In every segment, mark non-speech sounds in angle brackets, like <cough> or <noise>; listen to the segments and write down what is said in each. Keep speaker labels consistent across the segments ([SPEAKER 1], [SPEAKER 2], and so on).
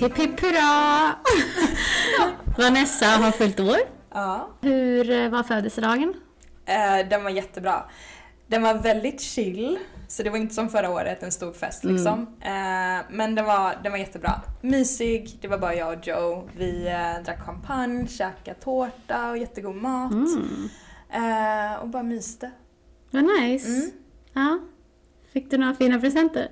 [SPEAKER 1] Hipp hipp hurra! Vanessa har fyllt år.
[SPEAKER 2] Ja.
[SPEAKER 1] Hur eh, var födelsedagen?
[SPEAKER 2] Eh, den var jättebra. Den var väldigt chill. Så det var inte som förra året, en stor fest
[SPEAKER 1] Mm.
[SPEAKER 2] liksom. Eh, men den var, den var jättebra. Mysig, det var bara jag och Joe. Vi eh, drack champagne, käkade tårta och jättegod mat.
[SPEAKER 1] Mm.
[SPEAKER 2] Eh, och bara myste.
[SPEAKER 1] Vad nice.
[SPEAKER 2] Mm.
[SPEAKER 1] Ja. Fick du några fina presenter?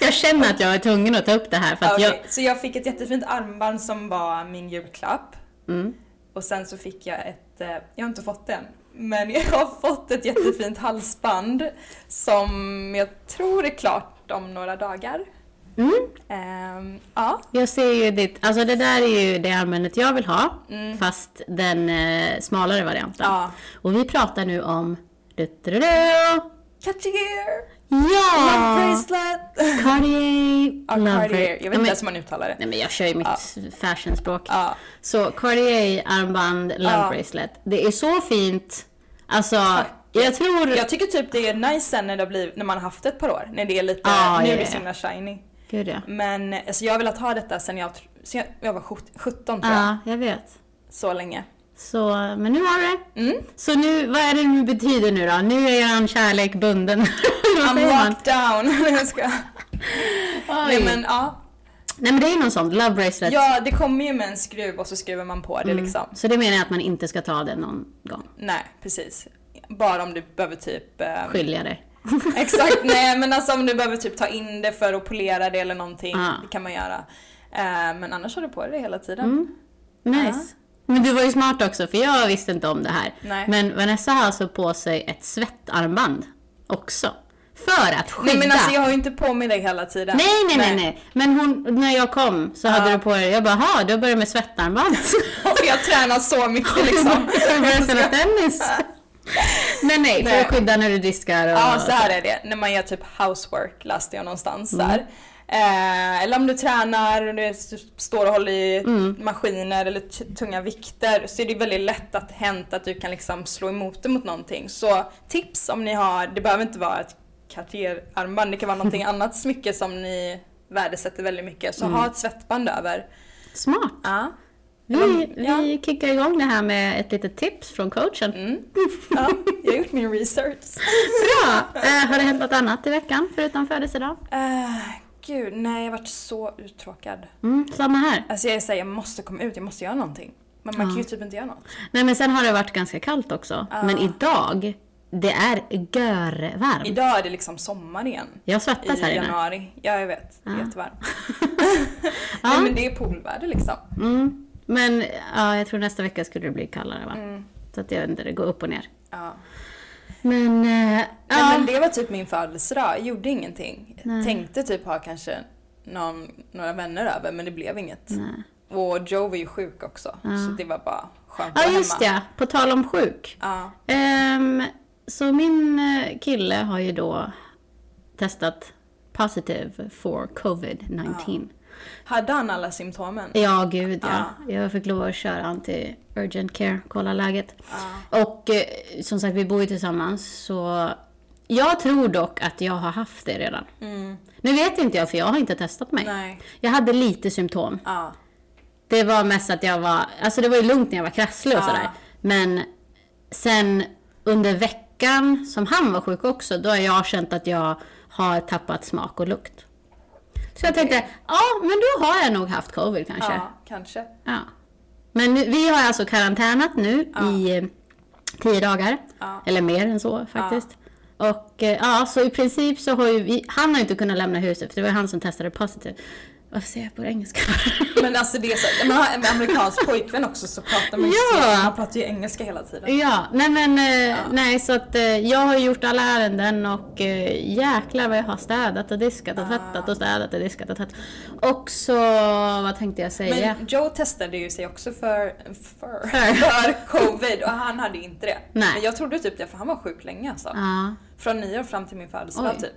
[SPEAKER 1] jag känner att jag är tvungen att ta upp det här för att
[SPEAKER 2] Okej,
[SPEAKER 1] jag...
[SPEAKER 2] Så jag fick ett jättefint armband som var min julklapp.
[SPEAKER 1] Mm.
[SPEAKER 2] Och sen så fick jag ett, eh, jag har inte fått det än, men jag har <laughs> fått ett jättefint halsband som jag tror är klart om några dagar.
[SPEAKER 1] Mm.
[SPEAKER 2] Ehm, ja.
[SPEAKER 1] Jag ser ju ditt... Alltså det där är ju det armbändet jag vill ha.
[SPEAKER 2] Mm.
[SPEAKER 1] Fast den eh, smalare varianten.
[SPEAKER 2] ja.
[SPEAKER 1] Och vi pratar nu om... Du-du-du-du.
[SPEAKER 2] Catch a gear! Love
[SPEAKER 1] Ja! <laughs>
[SPEAKER 2] bracelet!
[SPEAKER 1] Cartier!
[SPEAKER 2] Ja,
[SPEAKER 1] Love
[SPEAKER 2] Cartier.
[SPEAKER 1] bra-
[SPEAKER 2] Jag vet
[SPEAKER 1] Ja,
[SPEAKER 2] inte
[SPEAKER 1] men-
[SPEAKER 2] ens hur man uttalar det.
[SPEAKER 1] Nej men jag kör ju mitt fashionspråk.
[SPEAKER 2] Ja.
[SPEAKER 1] Så Cartier armband love
[SPEAKER 2] Ja.
[SPEAKER 1] bracelet. Det är så fint. Alltså,
[SPEAKER 2] Tack.
[SPEAKER 1] jag tror...
[SPEAKER 2] Jag tycker typ det är nice sen när, det har blivit, när man har haft ett par år, när det är lite,
[SPEAKER 1] Ja,
[SPEAKER 2] nu
[SPEAKER 1] ja,
[SPEAKER 2] är det
[SPEAKER 1] ja.
[SPEAKER 2] så himla shiny.
[SPEAKER 1] Gud ja.
[SPEAKER 2] Men alltså, jag har velat ha detta sen jag, tr- sen jag, jag var sjut- 17 tror jag.
[SPEAKER 1] Ja, jag vet.
[SPEAKER 2] Så länge.
[SPEAKER 1] Så, men nu har du det.
[SPEAKER 2] Mm.
[SPEAKER 1] Så nu, vad är det nu betyder nu då? Nu är han kärlek bunden. <laughs> vad säger
[SPEAKER 2] I'm
[SPEAKER 1] man?
[SPEAKER 2] locked down. <laughs> Nej, jag skojar. Nej men ja.
[SPEAKER 1] Nej men det är någon sån, love bracelet.
[SPEAKER 2] Ja, det kommer ju med en skruv och så skruvar man på det liksom.
[SPEAKER 1] Så det menar jag att man inte ska ta den någon gång.
[SPEAKER 2] Nej, precis. Bara om du behöver typ... ehm,
[SPEAKER 1] Skilja det.
[SPEAKER 2] Exakt, nej men alltså om du behöver typ ta in det för att polera det eller någonting.
[SPEAKER 1] Ja.
[SPEAKER 2] Det kan man göra. Eh, men annars har du på dig det hela tiden.
[SPEAKER 1] Mm. Nice. Men du var ju smart också, för jag visste inte om det här.
[SPEAKER 2] Nej.
[SPEAKER 1] Men Vanessa har alltså på sig ett svettarmband också. För att skydda.
[SPEAKER 2] Nej men alltså jag har ju inte på mig det hela tiden.
[SPEAKER 1] nej, nej, nej, nej. Men hon, när jag kom så hade
[SPEAKER 2] Ja.
[SPEAKER 1] du på dig, jag bara, ha, du har börjat med
[SPEAKER 2] <laughs>
[SPEAKER 1] svettarmband.
[SPEAKER 2] För jag tränar så
[SPEAKER 1] <laughs>
[SPEAKER 2] mycket liksom.
[SPEAKER 1] Har du börjat spela
[SPEAKER 2] <laughs>
[SPEAKER 1] tennis? nej, nej, för
[SPEAKER 2] Nej.
[SPEAKER 1] att skydda när du diskar och...
[SPEAKER 2] Ja, så här är det. När man gör typ housework läste jag någonstans där. Eh, eller om du tränar och du s- står och håller i maskiner eller t- tunga vikter så är det väldigt lätt att hänt att du kan liksom slå emot det mot någonting. Så tips om ni har, det behöver inte vara ett Cartier-armband, det kan vara <laughs> någonting annat smycke som ni värdesätter väldigt mycket. Så ha ett svettband över.
[SPEAKER 1] Smart.
[SPEAKER 2] Mm. Ja.
[SPEAKER 1] Vi,
[SPEAKER 2] Ja. Mm.
[SPEAKER 1] vi kickar igång det här med ett litet tips från coachen.
[SPEAKER 2] ja, jag har gjort min research.
[SPEAKER 1] Bra! Eh, har det hänt något annat i veckan förutom födelsedag?
[SPEAKER 2] Eh, gud, nej jag har varit så uttråkad.
[SPEAKER 1] Mm, samma här.
[SPEAKER 2] Alltså jag säger jag måste komma ut, jag måste göra någonting. Men man kan ju typ inte göra något.
[SPEAKER 1] Nej men sen har det varit ganska kallt också. Men idag, det är görvarmt.
[SPEAKER 2] Idag är det liksom sommar igen.
[SPEAKER 1] Jag svettas här
[SPEAKER 2] I
[SPEAKER 1] inne.
[SPEAKER 2] januari. Ja, jag vet. Det är
[SPEAKER 1] <laughs>
[SPEAKER 2] jättevarmt. <laughs>
[SPEAKER 1] Ja.
[SPEAKER 2] Nej men det är poolväder liksom.
[SPEAKER 1] Mm. Men ja, jag tror nästa vecka skulle det bli kallare va?
[SPEAKER 2] Mm.
[SPEAKER 1] Så att jag vet inte, det går upp och ner.
[SPEAKER 2] Ja.
[SPEAKER 1] Men, eh,
[SPEAKER 2] Nej,
[SPEAKER 1] ja.
[SPEAKER 2] men det var typ min födelsedag. Jag gjorde ingenting. Tänkte typ ha kanske någon, några vänner över men det blev inget.
[SPEAKER 1] Nej.
[SPEAKER 2] Och Joe var ju sjuk också. Så det var bara skönt att
[SPEAKER 1] Ja
[SPEAKER 2] vara
[SPEAKER 1] just
[SPEAKER 2] hemma.
[SPEAKER 1] det, på tal om sjuk.
[SPEAKER 2] Ja.
[SPEAKER 1] Ehm, så min eh, kille har ju då testat positive for covid-19.
[SPEAKER 2] Hade han alla symptomen?
[SPEAKER 1] Ja, gud ja. Jag fick lov att köra han till urgent care, kolla läget. Och eh, som sagt, vi bor ju tillsammans så jag tror dock att jag har haft det redan.
[SPEAKER 2] Mm.
[SPEAKER 1] Nu vet inte jag för jag har inte testat mig.
[SPEAKER 2] Nej.
[SPEAKER 1] Jag hade lite symptom.
[SPEAKER 2] Ja.
[SPEAKER 1] Det var mest att jag var, alltså det var ju lugnt när jag var krasslig och
[SPEAKER 2] Ja.
[SPEAKER 1] sådär. Men sen under veckan som han var sjuk också, då har jag känt att jag har tappat smak och lukt. Så jag tänkte, ja men då har jag nog haft covid kanske.
[SPEAKER 2] Ja, kanske.
[SPEAKER 1] Ja. Men nu, vi har alltså karantänat nu i eh, tio dagar.
[SPEAKER 2] Ja.
[SPEAKER 1] Eller mer än så faktiskt. Och eh, ja, så i princip så har ju vi, han har ju inte kunnat lämna huset för det var ju han som testade positivt. Varför säger jag på engelska? <laughs>
[SPEAKER 2] Men alltså det är så, när man har en amerikansk pojkvän också så pratar man ju
[SPEAKER 1] Ja.
[SPEAKER 2] så, man pratar ju engelska hela tiden.
[SPEAKER 1] ja, nej men eh, nej så att eh, jag har ju gjort alla ärenden och eh, jäklar vad jag har städat och diskat och tvättat och städat och diskat och tvättat. Och så, vad tänkte jag
[SPEAKER 2] Men
[SPEAKER 1] säga?
[SPEAKER 2] Joe testade ju sig också för,
[SPEAKER 1] <laughs>
[SPEAKER 2] för,
[SPEAKER 1] För.
[SPEAKER 2] för covid och han hade ju inte det.
[SPEAKER 1] Nej.
[SPEAKER 2] Men jag trodde typ det för han var sjuk länge alltså.
[SPEAKER 1] Ja.
[SPEAKER 2] Från nyår fram till min födelsedag
[SPEAKER 1] Oj.
[SPEAKER 2] typ.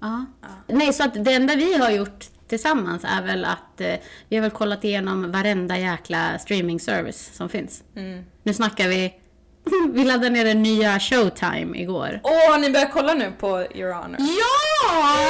[SPEAKER 1] Ja. Nej, så att det enda vi har gjort tillsammans är väl att eh, vi har väl kollat igenom varenda jäkla streaming service som finns.
[SPEAKER 2] Mm.
[SPEAKER 1] Nu snackar vi, <laughs> vi laddade ner den nya Showtime igår.
[SPEAKER 2] Åh, ni börjar kolla nu på Your Honor.
[SPEAKER 1] Ja!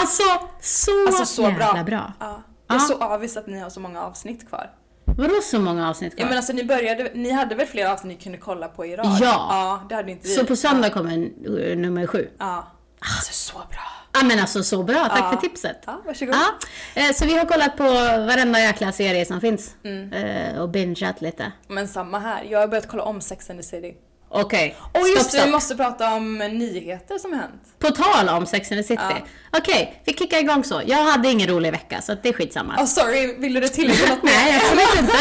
[SPEAKER 1] Alltså så,
[SPEAKER 2] Alltså så
[SPEAKER 1] jävla
[SPEAKER 2] bra.
[SPEAKER 1] bra.
[SPEAKER 2] Ja. Jag är
[SPEAKER 1] Ja.
[SPEAKER 2] så avis att ni har så många avsnitt kvar.
[SPEAKER 1] Vadå så många avsnitt
[SPEAKER 2] Ja,
[SPEAKER 1] kvar?
[SPEAKER 2] men alltså, ni, började, ni hade väl flera avsnitt ni kunde kolla på i rad?
[SPEAKER 1] Ja.
[SPEAKER 2] ja det hade inte alltså, vi.
[SPEAKER 1] Så på söndag kommer n- eh, nummer sju.
[SPEAKER 2] Ja. Alltså så bra.
[SPEAKER 1] Ja men alltså så bra, tack
[SPEAKER 2] Ja.
[SPEAKER 1] för tipset.
[SPEAKER 2] Ja, varsågod.
[SPEAKER 1] Ja, eh, så vi har kollat på varenda jäkla serie som finns
[SPEAKER 2] Mm.
[SPEAKER 1] eh, och bingeat lite.
[SPEAKER 2] Men samma här, jag har börjat kolla om Sex and the City.
[SPEAKER 1] Okej,
[SPEAKER 2] Och
[SPEAKER 1] stopp,
[SPEAKER 2] just det,
[SPEAKER 1] stopp.
[SPEAKER 2] vi måste prata om nyheter som har hänt.
[SPEAKER 1] På tal om Sex and the City.
[SPEAKER 2] Ja.
[SPEAKER 1] Okej, vi kickar igång så. Jag hade ingen rolig vecka så att det är skitsamma.
[SPEAKER 2] Ah sorry, ville du tillägga något mer?
[SPEAKER 1] Nej, absolut
[SPEAKER 2] <laughs>
[SPEAKER 1] inte.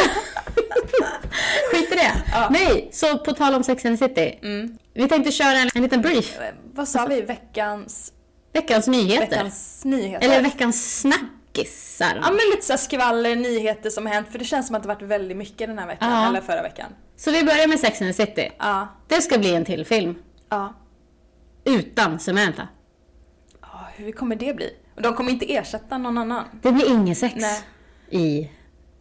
[SPEAKER 1] Skit i det. Nej, så på tal om Sex and the City.
[SPEAKER 2] Mm.
[SPEAKER 1] Vi tänkte köra en, en liten brief.
[SPEAKER 2] Eh, Vad sa vi? Veckans,
[SPEAKER 1] Veckans nyheter.
[SPEAKER 2] veckans nyheter?
[SPEAKER 1] Eller veckans snackisar.
[SPEAKER 2] Ja men lite såhär skvaller, nyheter som har hänt för det känns som att det varit väldigt mycket den här veckan,
[SPEAKER 1] Ja.
[SPEAKER 2] eller förra veckan.
[SPEAKER 1] Så vi börjar med Sex and the City.
[SPEAKER 2] Ja.
[SPEAKER 1] Det ska bli en till film.
[SPEAKER 2] Ja.
[SPEAKER 1] Utan Samantha.
[SPEAKER 2] Ja, hur kommer det bli? Och de kommer inte ersätta någon annan.
[SPEAKER 1] Det blir ingen sex
[SPEAKER 2] Nej.
[SPEAKER 1] i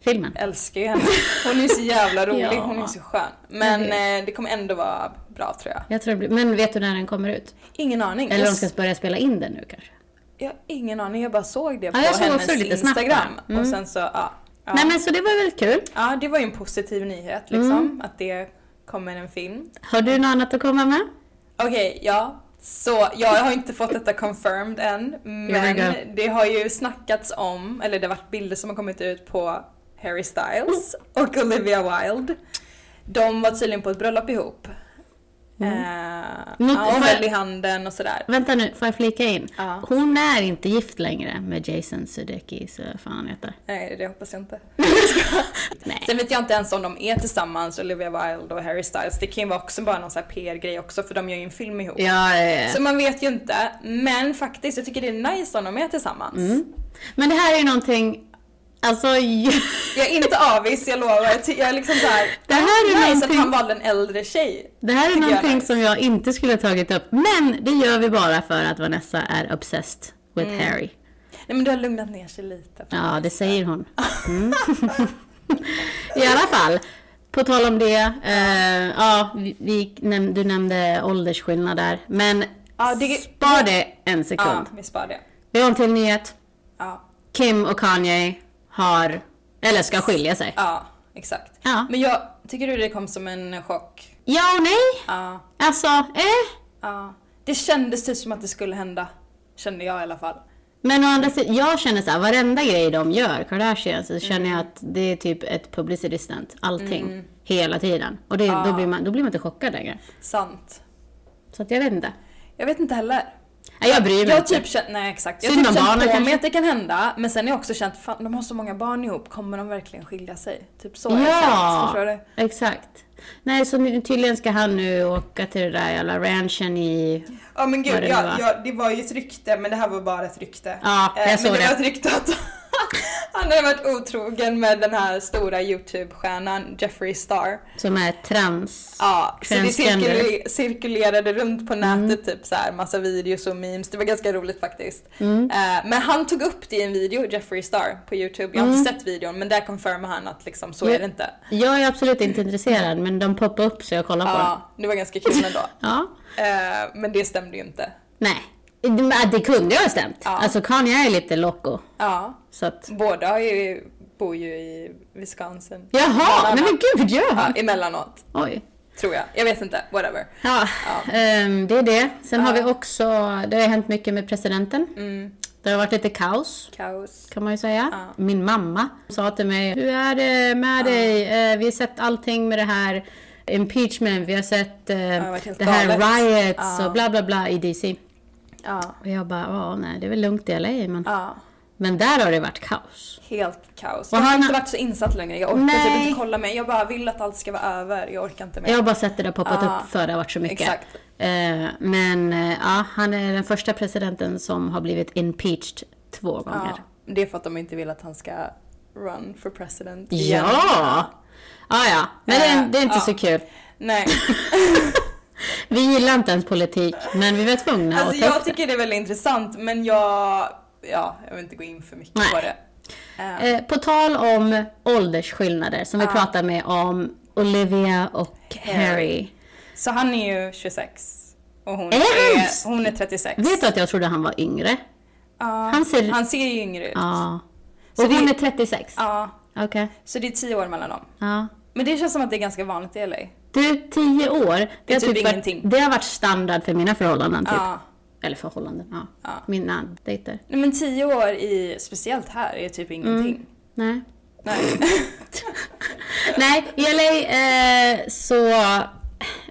[SPEAKER 1] filmen.
[SPEAKER 2] Jag älskar ju henne. Hon är ju
[SPEAKER 1] <laughs>
[SPEAKER 2] så jävla rolig,
[SPEAKER 1] Ja.
[SPEAKER 2] hon är så skön. Men
[SPEAKER 1] Jag
[SPEAKER 2] eh, det kommer ändå vara bra tror jag.
[SPEAKER 1] Jag tror det blir, men vet du när den kommer ut?
[SPEAKER 2] Ingen aning.
[SPEAKER 1] Eller
[SPEAKER 2] jag,
[SPEAKER 1] de ska börja spela in den nu kanske?
[SPEAKER 2] jag har ingen aning, jag bara såg det på
[SPEAKER 1] jag såg
[SPEAKER 2] hennes
[SPEAKER 1] också det lite snabbt
[SPEAKER 2] Instagram.
[SPEAKER 1] där.
[SPEAKER 2] Och sen så, ja. ja.
[SPEAKER 1] Nej men så det var väl kul.
[SPEAKER 2] Ja, det var ju en positiv nyhet liksom,
[SPEAKER 1] Mm.
[SPEAKER 2] att det kommer en film.
[SPEAKER 1] Har du något annat att komma med?
[SPEAKER 2] Okej, ja. Så jag har inte fått detta confirmed än, men
[SPEAKER 1] Here we
[SPEAKER 2] det har ju snackats om, eller det har varit bilder som har kommit ut på Harry Styles och Olivia Wilde. De var tydligen på ett bröllop ihop. Eh,
[SPEAKER 1] Mm. Något-
[SPEAKER 2] ja, och
[SPEAKER 1] för-
[SPEAKER 2] höll i handen och sådär.
[SPEAKER 1] Vänta nu, får jag flika in?
[SPEAKER 2] Ja.
[SPEAKER 1] Hon är inte gift längre med Jason Sudeikis, eller vad fan han heter.
[SPEAKER 2] Nej, det hoppas jag inte.
[SPEAKER 1] <laughs> Nej.
[SPEAKER 2] Sen vet jag inte ens om de är tillsammans, Olivia Wilde och Harry Styles. Det kan ju vara också bara någon sån här PR-grej också, för de gör ju en film ihop.
[SPEAKER 1] Ja, eh,
[SPEAKER 2] Så man vet ju inte. Men faktiskt, jag tycker det är nice om de är tillsammans.
[SPEAKER 1] Men det här är ju någonting, alltså
[SPEAKER 2] Jag är inte avis, jag lovar. Jag, ty- jag är liksom såhär...
[SPEAKER 1] Det här är
[SPEAKER 2] nice
[SPEAKER 1] någonting-
[SPEAKER 2] att han valde en äldre tjej.
[SPEAKER 1] det här är
[SPEAKER 2] Tycker jag är
[SPEAKER 1] någonting
[SPEAKER 2] nice.
[SPEAKER 1] som jag inte skulle ha tagit upp. Men det gör vi bara för att Vanessa är obsessed with Harry.
[SPEAKER 2] Nej men du har lugnat ner sig lite.
[SPEAKER 1] Ja, det säger hon. Mm. <laughs> I alla fall, på tal om det. Eh, ja, vi, vi, näm- du nämnde åldersskillnad där. Men
[SPEAKER 2] Ja, det-
[SPEAKER 1] spar det en
[SPEAKER 2] Ja,
[SPEAKER 1] sekund.
[SPEAKER 2] vi sparar det.
[SPEAKER 1] Vi har en till nyhet.
[SPEAKER 2] Ja,
[SPEAKER 1] Kim och Kanye har, eller ska skilja sig.
[SPEAKER 2] ja exakt.
[SPEAKER 1] Ja.
[SPEAKER 2] Men jag, tycker du det kom som en chock?
[SPEAKER 1] Ja och nej.
[SPEAKER 2] Ja,
[SPEAKER 1] Alltså, eh.
[SPEAKER 2] ja. Det kändes typ som att det skulle hända. Kände jag i alla fall.
[SPEAKER 1] Men å andra sidan, jag känner så här, varenda grej de gör, Kardashian, så känner
[SPEAKER 2] Mm.
[SPEAKER 1] jag att det är typ ett publicity stunt. Allting. Hela tiden. Och det, då, blir man, då blir man inte chockad längre.
[SPEAKER 2] Sant.
[SPEAKER 1] Så att jag vet inte.
[SPEAKER 2] Jag vet inte heller.
[SPEAKER 1] Nej, jag bryr mig
[SPEAKER 2] Jag har
[SPEAKER 1] inte.
[SPEAKER 2] typ känt, nej exakt. Jag har
[SPEAKER 1] Synd
[SPEAKER 2] typ
[SPEAKER 1] om
[SPEAKER 2] känt
[SPEAKER 1] barnen
[SPEAKER 2] på mig
[SPEAKER 1] kanske.
[SPEAKER 2] att det kan hända, men sen har jag också känt, fan de har så många barn ihop, kommer de verkligen skilja sig? Typ så har jag känt,
[SPEAKER 1] Ja,
[SPEAKER 2] förstår du?
[SPEAKER 1] exakt. Nej, så nu, tydligen ska han nu åka till det där jävla ranchen i...
[SPEAKER 2] Ja
[SPEAKER 1] Vad
[SPEAKER 2] men gud,
[SPEAKER 1] det nu
[SPEAKER 2] ja,
[SPEAKER 1] var.
[SPEAKER 2] ja, det var ju ett rykte men det här var bara ett rykte. Eh,
[SPEAKER 1] Ja, jag
[SPEAKER 2] men
[SPEAKER 1] såg
[SPEAKER 2] det.
[SPEAKER 1] det.
[SPEAKER 2] var ett rykte att <laughs> han hade varit otrogen med den här stora YouTube-stjärnan Jeffree Star.
[SPEAKER 1] Som är trans...
[SPEAKER 2] Ja, så det
[SPEAKER 1] Transgender.
[SPEAKER 2] cirkule- cirkulerade runt på nätet
[SPEAKER 1] Mm.
[SPEAKER 2] typ så här, massa videos och memes. Det var ganska roligt faktiskt.
[SPEAKER 1] Mm.
[SPEAKER 2] Eh, men han tog upp det i en video, Jeffree Star, på YouTube. Jag har
[SPEAKER 1] Mm.
[SPEAKER 2] inte sett videon men där confirmar han att liksom så är det inte.
[SPEAKER 1] Jag är absolut inte intresserad, men de poppar upp så jag kollar på dem.
[SPEAKER 2] Ja, det var ganska kul ändå.
[SPEAKER 1] Ja.
[SPEAKER 2] Eh, men det stämde ju inte.
[SPEAKER 1] Nej. Det, det kunde ju ha stämt.
[SPEAKER 2] Ja.
[SPEAKER 1] Alltså, Kanye är lite loco.
[SPEAKER 2] Ja,
[SPEAKER 1] Så att...
[SPEAKER 2] båda har ju, bor ju i Wisconsin.
[SPEAKER 1] Jaha!
[SPEAKER 2] Bland
[SPEAKER 1] Nej men
[SPEAKER 2] annat.
[SPEAKER 1] gud, gör
[SPEAKER 2] Ja,
[SPEAKER 1] han?
[SPEAKER 2] emellanåt,
[SPEAKER 1] Oj.
[SPEAKER 2] tror jag. Jag vet inte, whatever.
[SPEAKER 1] Ja, ehm, det är det. Sen har vi
[SPEAKER 2] Ja. Mm.
[SPEAKER 1] också... Det har hänt mycket med presidenten. Det har varit lite kaos.
[SPEAKER 2] Kaos.
[SPEAKER 1] kan man ju säga. Min mamma sa till mig, hur är det med dig? Eh, Vi har sett allting med det här impeachment, vi har sett eh,
[SPEAKER 2] det har varit helt
[SPEAKER 1] det här
[SPEAKER 2] galet.
[SPEAKER 1] riots och bla bla bla i DC.
[SPEAKER 2] Ja,
[SPEAKER 1] Och jag bara, ja nej det är väl lugnt i LA men,
[SPEAKER 2] ja.
[SPEAKER 1] men där har det varit kaos.
[SPEAKER 2] Helt kaos.
[SPEAKER 1] Och
[SPEAKER 2] jag har
[SPEAKER 1] han-
[SPEAKER 2] inte varit så insatt längre. Jag orkar typ
[SPEAKER 1] Nej.
[SPEAKER 2] inte kolla mer. Jag bara vill att allt ska vara över. Jag orkar inte mer.
[SPEAKER 1] Jag har bara sett det där poppat
[SPEAKER 2] Ja.
[SPEAKER 1] upp för det har varit så mycket.
[SPEAKER 2] Exakt.
[SPEAKER 1] Eh, Men eh, ja, han är den första presidenten som har blivit impeached två gånger.
[SPEAKER 2] Ja. Det är för att de inte vill att han ska run for president igen.
[SPEAKER 1] Ja! Ja, ja. Men det är, det är inte
[SPEAKER 2] Eh,
[SPEAKER 1] så
[SPEAKER 2] ja.
[SPEAKER 1] kul. <laughs>
[SPEAKER 2] Nej,
[SPEAKER 1] Vi gillar inte ens politik, men vi var tvungna
[SPEAKER 2] alltså
[SPEAKER 1] att ta upp
[SPEAKER 2] jag tycker det är väldigt intressant men jag, ja, jag vill inte gå in för mycket
[SPEAKER 1] Nej.
[SPEAKER 2] på det. Eh,
[SPEAKER 1] Eh, på tal om åldersskillnader som vi pratade med om Olivia och
[SPEAKER 2] Harry.
[SPEAKER 1] Harry.
[SPEAKER 2] Så han är ju 26 och hon
[SPEAKER 1] Är
[SPEAKER 2] är,
[SPEAKER 1] han?
[SPEAKER 2] hon är 36.
[SPEAKER 1] Vet du att jag trodde han var yngre? Han ser-
[SPEAKER 2] han ser ju yngre ut.
[SPEAKER 1] Ja.
[SPEAKER 2] Så
[SPEAKER 1] Och
[SPEAKER 2] det-
[SPEAKER 1] hon är 36?
[SPEAKER 2] Ja,
[SPEAKER 1] Okej.
[SPEAKER 2] så det är tio år mellan dem.
[SPEAKER 1] Ja.
[SPEAKER 2] Men det känns som att det är ganska vanligt i LA.
[SPEAKER 1] Typ. Du, 10 år. Det, har
[SPEAKER 2] typ
[SPEAKER 1] varit,
[SPEAKER 2] ingenting.
[SPEAKER 1] det har varit standard för mina förhållanden. Typ.
[SPEAKER 2] Ja.
[SPEAKER 1] Eller förhållanden, ja.
[SPEAKER 2] Ja.
[SPEAKER 1] Mina dejter.
[SPEAKER 2] Nej, men tio år i, speciellt här, är typ ingenting.
[SPEAKER 1] Mm. Nej.
[SPEAKER 2] Nej.
[SPEAKER 1] Nej, i LA eh, så...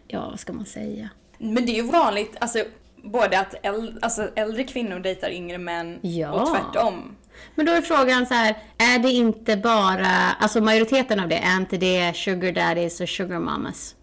[SPEAKER 1] Ja, vad ska man säga?
[SPEAKER 2] <laughs> Men det är ju vanligt, alltså både att äldre, alltså, äldre kvinnor dejtar yngre män
[SPEAKER 1] Ja.
[SPEAKER 2] och tvärtom.
[SPEAKER 1] Men då är frågan så här, är det inte bara... Alltså majoriteten av det, är inte det sugar daddies och sugar mamas?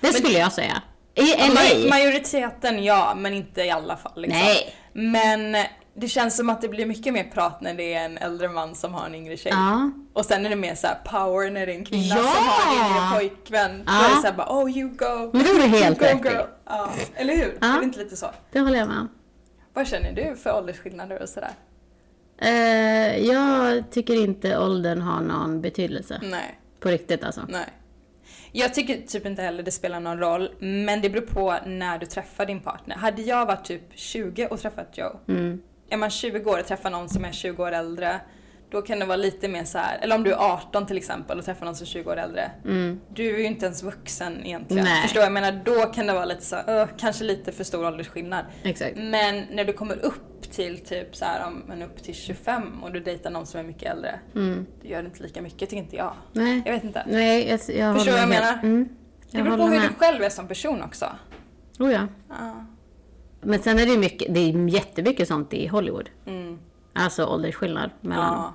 [SPEAKER 1] Det skulle jag säga. I
[SPEAKER 2] Men-
[SPEAKER 1] LA?
[SPEAKER 2] ma- majoriteten ja, men inte i alla fall. Liksom.
[SPEAKER 1] Nej.
[SPEAKER 2] Men det känns som att det blir mycket mer prat när det är en äldre man som har en yngre tjej.
[SPEAKER 1] Ja.
[SPEAKER 2] Och sen är det mer så här power när det är en kvinna
[SPEAKER 1] Ja.
[SPEAKER 2] som har en yngre pojkvän.
[SPEAKER 1] Ja.
[SPEAKER 2] Då är det såhär bara oh you go.
[SPEAKER 1] Men då är det helt
[SPEAKER 2] you
[SPEAKER 1] rätt
[SPEAKER 2] go,
[SPEAKER 1] i.
[SPEAKER 2] girl. Ja. Eller hur?
[SPEAKER 1] Ja.
[SPEAKER 2] Är det inte lite så?
[SPEAKER 1] Det håller jag med om.
[SPEAKER 2] Vad känner du för åldersskillnader och sådär?
[SPEAKER 1] Eh, jag tycker inte åldern har någon betydelse.
[SPEAKER 2] Nej.
[SPEAKER 1] På riktigt alltså.
[SPEAKER 2] Mm. Nej. Jag tycker typ inte heller det spelar någon roll, men det beror på när du träffar din partner. Hade jag varit typ 20 och träffat Joe, är man 20 år och träffar någon som är 20 år äldre, då kan det vara lite mer så här. eller om du är 18 till exempel och träffar någon som är 20 år äldre, du är ju inte ens vuxen egentligen.
[SPEAKER 1] Nej.
[SPEAKER 2] Förstår jag? jag menar, då kan det vara lite så här, "Öh, kanske lite för stor åldersskillnad.
[SPEAKER 1] Exakt.
[SPEAKER 2] Men när du kommer upp till typ så här, om men upp till 25 och du dejtar någon som är mycket äldre, det gör det inte lika mycket tycker inte jag.
[SPEAKER 1] Nej.
[SPEAKER 2] Jag vet inte.
[SPEAKER 1] Nej, jag, jag
[SPEAKER 2] Förstår
[SPEAKER 1] håller
[SPEAKER 2] vad jag
[SPEAKER 1] med.
[SPEAKER 2] menar?
[SPEAKER 1] Mm,
[SPEAKER 2] Det
[SPEAKER 1] jag
[SPEAKER 2] beror på
[SPEAKER 1] håller
[SPEAKER 2] hur
[SPEAKER 1] med.
[SPEAKER 2] du själv är som person också.
[SPEAKER 1] Oh, ja.
[SPEAKER 2] Ja.
[SPEAKER 1] Men sen är det ju mycket, det är jättemycket sånt i Hollywood. Alltså åldersskillnad mellan...
[SPEAKER 2] Mm. Ja.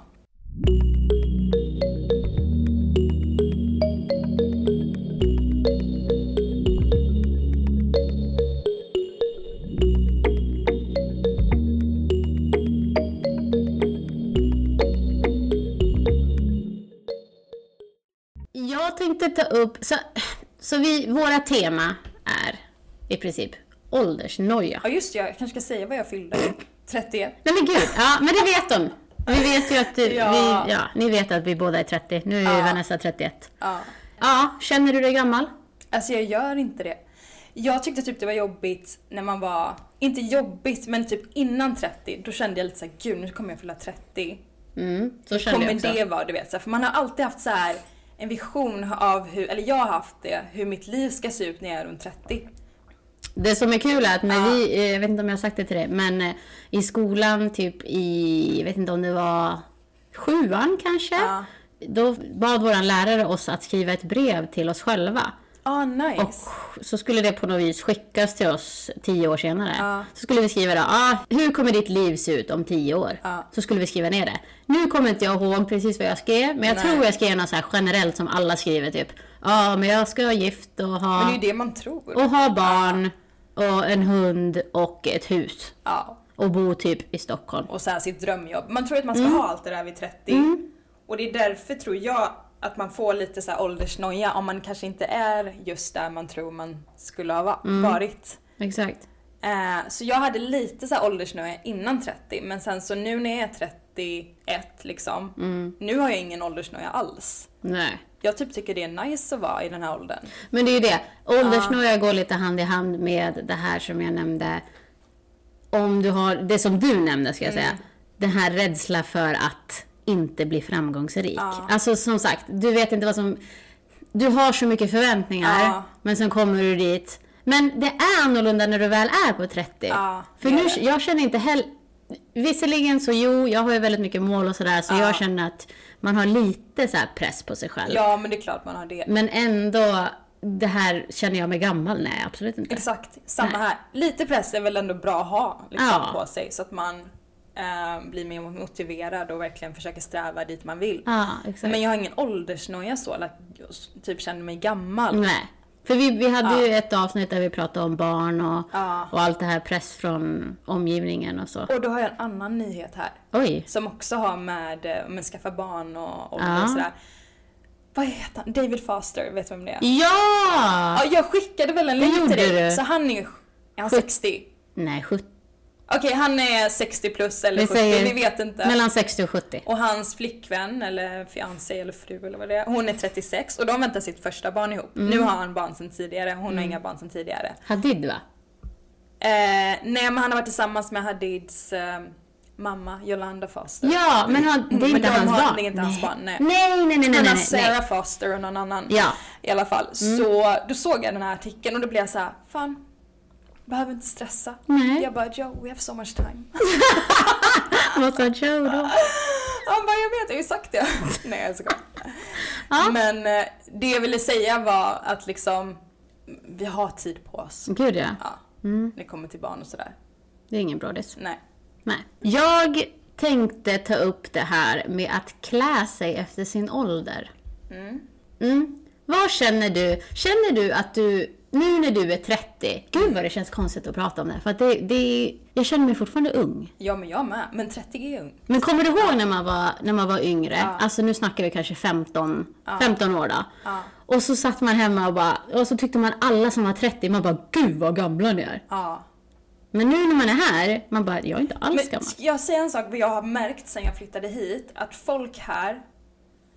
[SPEAKER 1] Jag tänkte ta upp, så, så vi, våra tema är i princip åldersnoja.
[SPEAKER 2] ja, just det, jag kanske ska säga vad
[SPEAKER 1] <clears throat>
[SPEAKER 2] jag fyllde. 31.
[SPEAKER 1] Nej men gud, ja men det vet de. Vi vet ju att du,
[SPEAKER 2] Ja.
[SPEAKER 1] Vi, ja, ni vet att vi båda är 30. Nu är ju Vanessa 31.
[SPEAKER 2] Ja.
[SPEAKER 1] Ja, känner du dig gammal?
[SPEAKER 2] Alltså jag gör inte det. Jag tyckte typ det var jobbigt när man var, inte jobbigt, men typ innan 30. Då kände jag lite såhär, gud nu kommer jag fylla 30.
[SPEAKER 1] Mm, så känner jag
[SPEAKER 2] Kommer
[SPEAKER 1] också.
[SPEAKER 2] det vara, du vet. Så här, för man har alltid haft så här en vision av hur, eller jag har haft det, hur mitt liv ska se ut när jag är runt 30.
[SPEAKER 1] Det som är kul är att när
[SPEAKER 2] Ja.
[SPEAKER 1] vi, eh, jag vet inte om jag har sagt det till dig, men eh, i skolan typ i, jag vet inte om det var sjuan kanske?
[SPEAKER 2] Ja.
[SPEAKER 1] Då bad vår lärare oss att skriva ett brev till oss själva.
[SPEAKER 2] Ah, nice.
[SPEAKER 1] Och så skulle det på något vis skickas till oss tio år senare.
[SPEAKER 2] Ja.
[SPEAKER 1] Så skulle vi skriva då, ah, hur kommer ditt liv se ut om tio år?
[SPEAKER 2] Ja.
[SPEAKER 1] Så skulle vi skriva ner det. Nu kommer inte jag ihåg precis vad jag skrev, men jag
[SPEAKER 2] Nej.
[SPEAKER 1] tror jag skrev något så här generellt som alla skriver typ. Ja, ah, men jag ska vara gift och ha...
[SPEAKER 2] Men det är ju det man tror.
[SPEAKER 1] Och ha barn och en hund och ett hus.
[SPEAKER 2] Ja.
[SPEAKER 1] Och bo typ i Stockholm.
[SPEAKER 2] och så här sitt drömjobb. Man tror att man ska ha allt det där vid 30. Och det är därför tror jag att man får lite så här åldersnoja om man kanske inte är just där man tror man skulle ha va- varit.
[SPEAKER 1] Exakt.
[SPEAKER 2] Eh, så jag hade lite så här åldersnoja innan 30 men sen så nu när jag är 31 liksom, nu har jag ingen åldersnoja alls.
[SPEAKER 1] Nej.
[SPEAKER 2] Jag typ tycker det är nice att vara i den här åldern.
[SPEAKER 1] Men det är ju det. Åldersnoja går lite hand i hand med det här som jag nämnde. Om du har, det som du nämnde ska jag
[SPEAKER 2] Mm.
[SPEAKER 1] säga. Den här rädsla för att inte bli framgångsrik. Alltså som sagt, du vet inte vad som... Du har så mycket förväntningar,
[SPEAKER 2] Ja.
[SPEAKER 1] men sen kommer du dit. Men det är annorlunda när du väl är på 30.
[SPEAKER 2] Ja,
[SPEAKER 1] För
[SPEAKER 2] det
[SPEAKER 1] nu,
[SPEAKER 2] är det.
[SPEAKER 1] jag känner inte heller... Visserligen så jo, jag har ju väldigt mycket mål och sådär, så
[SPEAKER 2] Ja.
[SPEAKER 1] jag känner att man har lite så här press på sig själv.
[SPEAKER 2] Ja men det är klart man har det.
[SPEAKER 1] Men ändå, det här känner jag mig gammal. Nej, absolut inte.
[SPEAKER 2] Exakt, samma här. Lite press är väl ändå bra att ha liksom,
[SPEAKER 1] Ja.
[SPEAKER 2] på sig så att man eh, blir mer motiverad och verkligen försöker sträva dit man vill.
[SPEAKER 1] Ja, Ah, exakt.
[SPEAKER 2] Men jag har ingen åldersnoja så, eller att jag s- typ känner mig gammal.
[SPEAKER 1] Nej. För vi, vi hade ju ett avsnitt där vi pratade om barn och,
[SPEAKER 2] Ja.
[SPEAKER 1] och allt det här press från omgivningen och så.
[SPEAKER 2] Och då har jag en annan nyhet här.
[SPEAKER 1] Oj!
[SPEAKER 2] Som också har med, eh, med skaffa barn och ålder
[SPEAKER 1] Ja.
[SPEAKER 2] och sådär. Vad heter han? David Foster, vet du vem det är?
[SPEAKER 1] Ja!
[SPEAKER 2] Ja, jag skickade väl en länk
[SPEAKER 1] gjorde
[SPEAKER 2] till dig.
[SPEAKER 1] du.
[SPEAKER 2] Så han är ju... Är han
[SPEAKER 1] Sju-
[SPEAKER 2] 60?
[SPEAKER 1] Nej, 70.
[SPEAKER 2] Okej, han är 60 plus eller
[SPEAKER 1] Vi
[SPEAKER 2] 70,
[SPEAKER 1] säger
[SPEAKER 2] vi vet inte.
[SPEAKER 1] Mellan 60 och 70.
[SPEAKER 2] Och hans flickvän, eller fiancé eller fru eller vad det är, hon är 36 och de väntar sitt första barn ihop. Nu
[SPEAKER 1] Mm.
[SPEAKER 2] har han barn sedan tidigare, hon har inga barn sedan tidigare.
[SPEAKER 1] Hadid va?
[SPEAKER 2] Eh, nej men han har varit tillsammans med Hadids eh, mamma Jolanda Foster.
[SPEAKER 1] Ja, men han, det är
[SPEAKER 2] Men
[SPEAKER 1] inte
[SPEAKER 2] de
[SPEAKER 1] hans
[SPEAKER 2] har-
[SPEAKER 1] barn.
[SPEAKER 2] det är inte hans barn, nej.
[SPEAKER 1] Nej, nej, nej, nej,
[SPEAKER 2] Han har
[SPEAKER 1] nej, nej.
[SPEAKER 2] Sarah Foster och någon annan.
[SPEAKER 1] Ja. Mm.
[SPEAKER 2] I alla fall. Så då såg jag den här artikeln och då blev jag så här, fan. Behöver inte stressa.
[SPEAKER 1] Nej.
[SPEAKER 2] Jag bara, Joe, we have so much time.
[SPEAKER 1] Vad sa Joe då?
[SPEAKER 2] Han bara, jag vet, jag har ju sagt det. <laughs> Nej, jag skojar.
[SPEAKER 1] Ja.
[SPEAKER 2] Men eh, det jag ville säga var att liksom, vi har tid på oss.
[SPEAKER 1] Gud ja,
[SPEAKER 2] Ja.
[SPEAKER 1] Mm.
[SPEAKER 2] Det kommer till barn och sådär.
[SPEAKER 1] det är ingen brådis.
[SPEAKER 2] Nej.
[SPEAKER 1] Nej. Jag tänkte ta upp det här med att klä sig efter sin ålder.
[SPEAKER 2] Mm.
[SPEAKER 1] Mm. Vad känner du? Känner du att du, nu när du är 30, gud vad det känns konstigt att prata om det här, för att det, det, jag känner mig fortfarande ung.
[SPEAKER 2] Ja, men jag med. Men 30 är ung.
[SPEAKER 1] Men kommer du ihåg när man var, när man var yngre?
[SPEAKER 2] Ja.
[SPEAKER 1] Alltså nu snackar vi kanske 15, 15 år då.
[SPEAKER 2] Ja.
[SPEAKER 1] Och så satt man hemma och bara, och så tyckte man alla som var 30, man bara gud vad gamla ni är.
[SPEAKER 2] Ja.
[SPEAKER 1] Men nu när man är här, man bara jag är inte alls
[SPEAKER 2] Men
[SPEAKER 1] gammal.
[SPEAKER 2] ska jag säga en sak vad jag har märkt sen jag flyttade hit? Att folk här,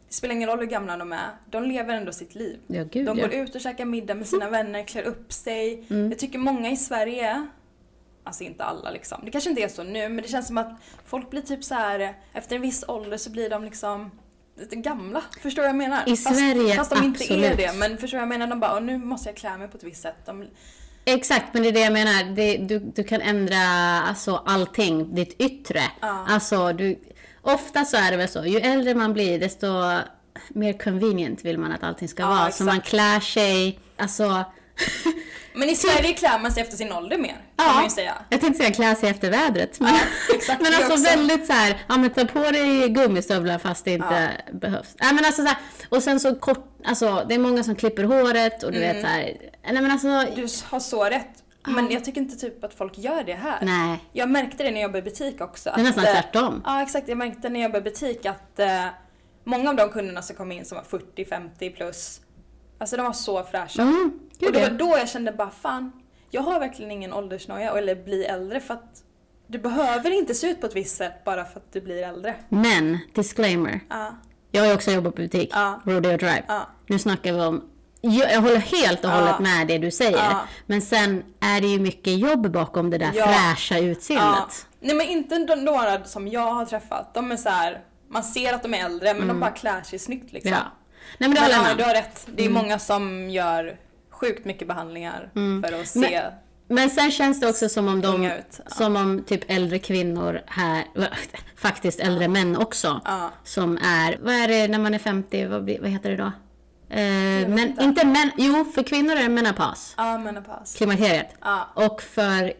[SPEAKER 2] det spelar ingen roll hur gamla de är, de lever ändå sitt liv.
[SPEAKER 1] Ja gud
[SPEAKER 2] De
[SPEAKER 1] ja.
[SPEAKER 2] går ut och käkar middag med sina vänner, klär upp sig.
[SPEAKER 1] Mm.
[SPEAKER 2] Jag tycker många i Sverige, alltså inte alla liksom, det kanske inte är så nu, men det känns som att folk blir typ så här efter en viss ålder så blir de liksom lite gamla. Förstår du vad jag menar?
[SPEAKER 1] I
[SPEAKER 2] fast,
[SPEAKER 1] Sverige,
[SPEAKER 2] Fast de inte är
[SPEAKER 1] absolut.
[SPEAKER 2] det, men förstår du vad jag menar? De bara, "Åh, nu måste jag klä mig på ett visst sätt. De,
[SPEAKER 1] Exakt, men det är det jag menar. Det, du, du kan ändra alltså, allting, ditt yttre.
[SPEAKER 2] Ja.
[SPEAKER 1] Alltså, du, ofta så är det väl så, ju äldre man blir desto mer convenient vill man att allting ska
[SPEAKER 2] Ja,
[SPEAKER 1] vara. Så
[SPEAKER 2] exakt.
[SPEAKER 1] man klär sig,
[SPEAKER 2] <laughs>
[SPEAKER 1] alltså...
[SPEAKER 2] men
[SPEAKER 1] Typ-
[SPEAKER 2] i Sverige klär man sig efter sin ålder mer, kan man ju säga.
[SPEAKER 1] jag tänkte säga klä sig efter vädret. Men,
[SPEAKER 2] <laughs> exakt,
[SPEAKER 1] men
[SPEAKER 2] det
[SPEAKER 1] alltså
[SPEAKER 2] också.
[SPEAKER 1] väldigt så här, ja men ta på dig gummistövlar fast det inte behövs. Nej men alltså så här, och sen så kort, alltså det är många som klipper håret och du vet så här, nej men alltså,
[SPEAKER 2] Mm. Du har så rätt. Men jag tycker inte typ att folk gör det här.
[SPEAKER 1] nej.
[SPEAKER 2] Jag märkte det när jag jobbade i butik också.
[SPEAKER 1] Det är nästan
[SPEAKER 2] att, eh,
[SPEAKER 1] tvärtom.
[SPEAKER 2] Ja exakt, jag märkte när jag jobbade i butik att eh, många av de kunderna som kom in som var 40-50 plus, alltså de var så fräscha.
[SPEAKER 1] Mm,
[SPEAKER 2] och
[SPEAKER 1] gud
[SPEAKER 2] det
[SPEAKER 1] ja.
[SPEAKER 2] var då jag kände bara fan, jag har verkligen ingen åldersnoja eller bli äldre för att du behöver inte se ut på ett visst sätt bara för att du blir äldre.
[SPEAKER 1] Men, disclaimer.
[SPEAKER 2] Ja,
[SPEAKER 1] Jag har ju också jobbat på butik,
[SPEAKER 2] Ja.
[SPEAKER 1] Rodeo Drive.
[SPEAKER 2] ja.
[SPEAKER 1] Nu snackar vi om... Jag, jag håller helt och
[SPEAKER 2] Ja.
[SPEAKER 1] hållet med det du säger.
[SPEAKER 2] Ja.
[SPEAKER 1] Men sen är det ju mycket jobb bakom det där
[SPEAKER 2] Ja.
[SPEAKER 1] fräscha
[SPEAKER 2] Ja.
[SPEAKER 1] utseendet.
[SPEAKER 2] Nej men inte de- några som jag har träffat, de är så här. man ser att de är äldre men de bara klär sig snyggt liksom.
[SPEAKER 1] Mm. Ja. Nej men Mm. det
[SPEAKER 2] Men
[SPEAKER 1] håller jag med
[SPEAKER 2] ja, du
[SPEAKER 1] om.
[SPEAKER 2] har rätt. Det är många som gör sjukt mycket behandlingar för att se
[SPEAKER 1] Mm. Men- Men sen känns det också som om de...
[SPEAKER 2] unga ut. Ja.
[SPEAKER 1] Som om typ äldre kvinnor här, <laughs> faktiskt äldre män också,
[SPEAKER 2] Ja.
[SPEAKER 1] som är, vad är det när man är 50, vad, blir, vad heter det då? Eh,
[SPEAKER 2] vet
[SPEAKER 1] men,
[SPEAKER 2] inte.
[SPEAKER 1] inte men, jo för kvinnor är det menopaus,
[SPEAKER 2] Ja, menopaus.
[SPEAKER 1] klimakteriet.
[SPEAKER 2] Ja.
[SPEAKER 1] Och för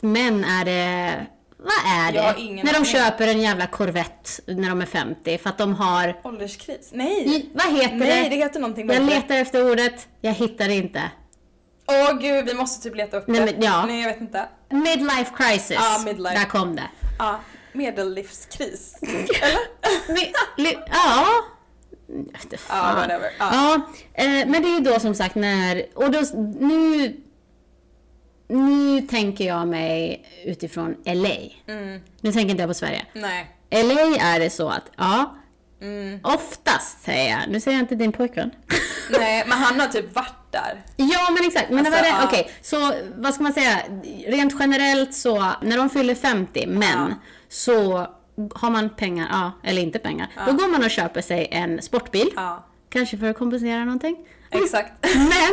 [SPEAKER 1] män är det... Vad är
[SPEAKER 2] Jag har
[SPEAKER 1] det?
[SPEAKER 2] ingen
[SPEAKER 1] När de
[SPEAKER 2] aning.
[SPEAKER 1] köper en jävla Corvette när de är 50 för att de har...
[SPEAKER 2] Ålderskris? Nej!
[SPEAKER 1] I, vad heter
[SPEAKER 2] Nej, det
[SPEAKER 1] det?
[SPEAKER 2] heter någonting
[SPEAKER 1] Jag
[SPEAKER 2] med det.
[SPEAKER 1] letar efter ordet, jag hittar det inte.
[SPEAKER 2] Åh gud, vi måste typ leta upp
[SPEAKER 1] Nej,
[SPEAKER 2] det.
[SPEAKER 1] men- ja.
[SPEAKER 2] Nej, jag vet inte.
[SPEAKER 1] Midlife crisis.
[SPEAKER 2] Ja, midlife.
[SPEAKER 1] Där kom det.
[SPEAKER 2] Ja, medellivskris. <laughs>
[SPEAKER 1] Mi- li- ja. Inte
[SPEAKER 2] Ja,
[SPEAKER 1] fan.
[SPEAKER 2] whatever. Ja.
[SPEAKER 1] Ja, eh, men det är ju då som sagt när... Och då, nu, nu tänker jag mig utifrån LA.
[SPEAKER 2] Mm,
[SPEAKER 1] Nu tänker inte jag på Sverige.
[SPEAKER 2] nej.
[SPEAKER 1] LA är det så att, ja,
[SPEAKER 2] Mm.
[SPEAKER 1] Oftast säger jag, nu säger jag inte din pojkvän.
[SPEAKER 2] <laughs> Nej, men han har typ varit där.
[SPEAKER 1] <laughs> ja men exakt, men
[SPEAKER 2] Alltså,
[SPEAKER 1] det var det,
[SPEAKER 2] ja.
[SPEAKER 1] okej. Så vad ska man säga, rent generellt så, när de fyller 50, men,
[SPEAKER 2] Ja.
[SPEAKER 1] så har man pengar, ja, eller inte pengar, då går man och köper sig en sportbil.
[SPEAKER 2] Ja,
[SPEAKER 1] Kanske för att kompensera någonting.
[SPEAKER 2] exakt.
[SPEAKER 1] Men,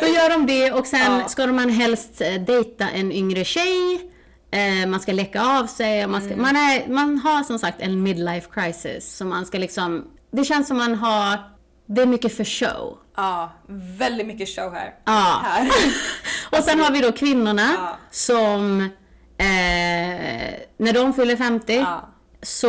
[SPEAKER 1] då gör de det och sen
[SPEAKER 2] Ja.
[SPEAKER 1] ska man helst eh, dejta en yngre tjej, eh, man ska läcka av sig, och man, ska, man, är, man har som sagt en midlife crisis. Så man ska liksom, det känns som man har, det är mycket för show.
[SPEAKER 2] Ja, väldigt mycket show här.
[SPEAKER 1] Ja.
[SPEAKER 2] Här.
[SPEAKER 1] <laughs> Och sen har vi då kvinnorna
[SPEAKER 2] Ja.
[SPEAKER 1] som, eh, när de fyller 50
[SPEAKER 2] Ja.
[SPEAKER 1] så,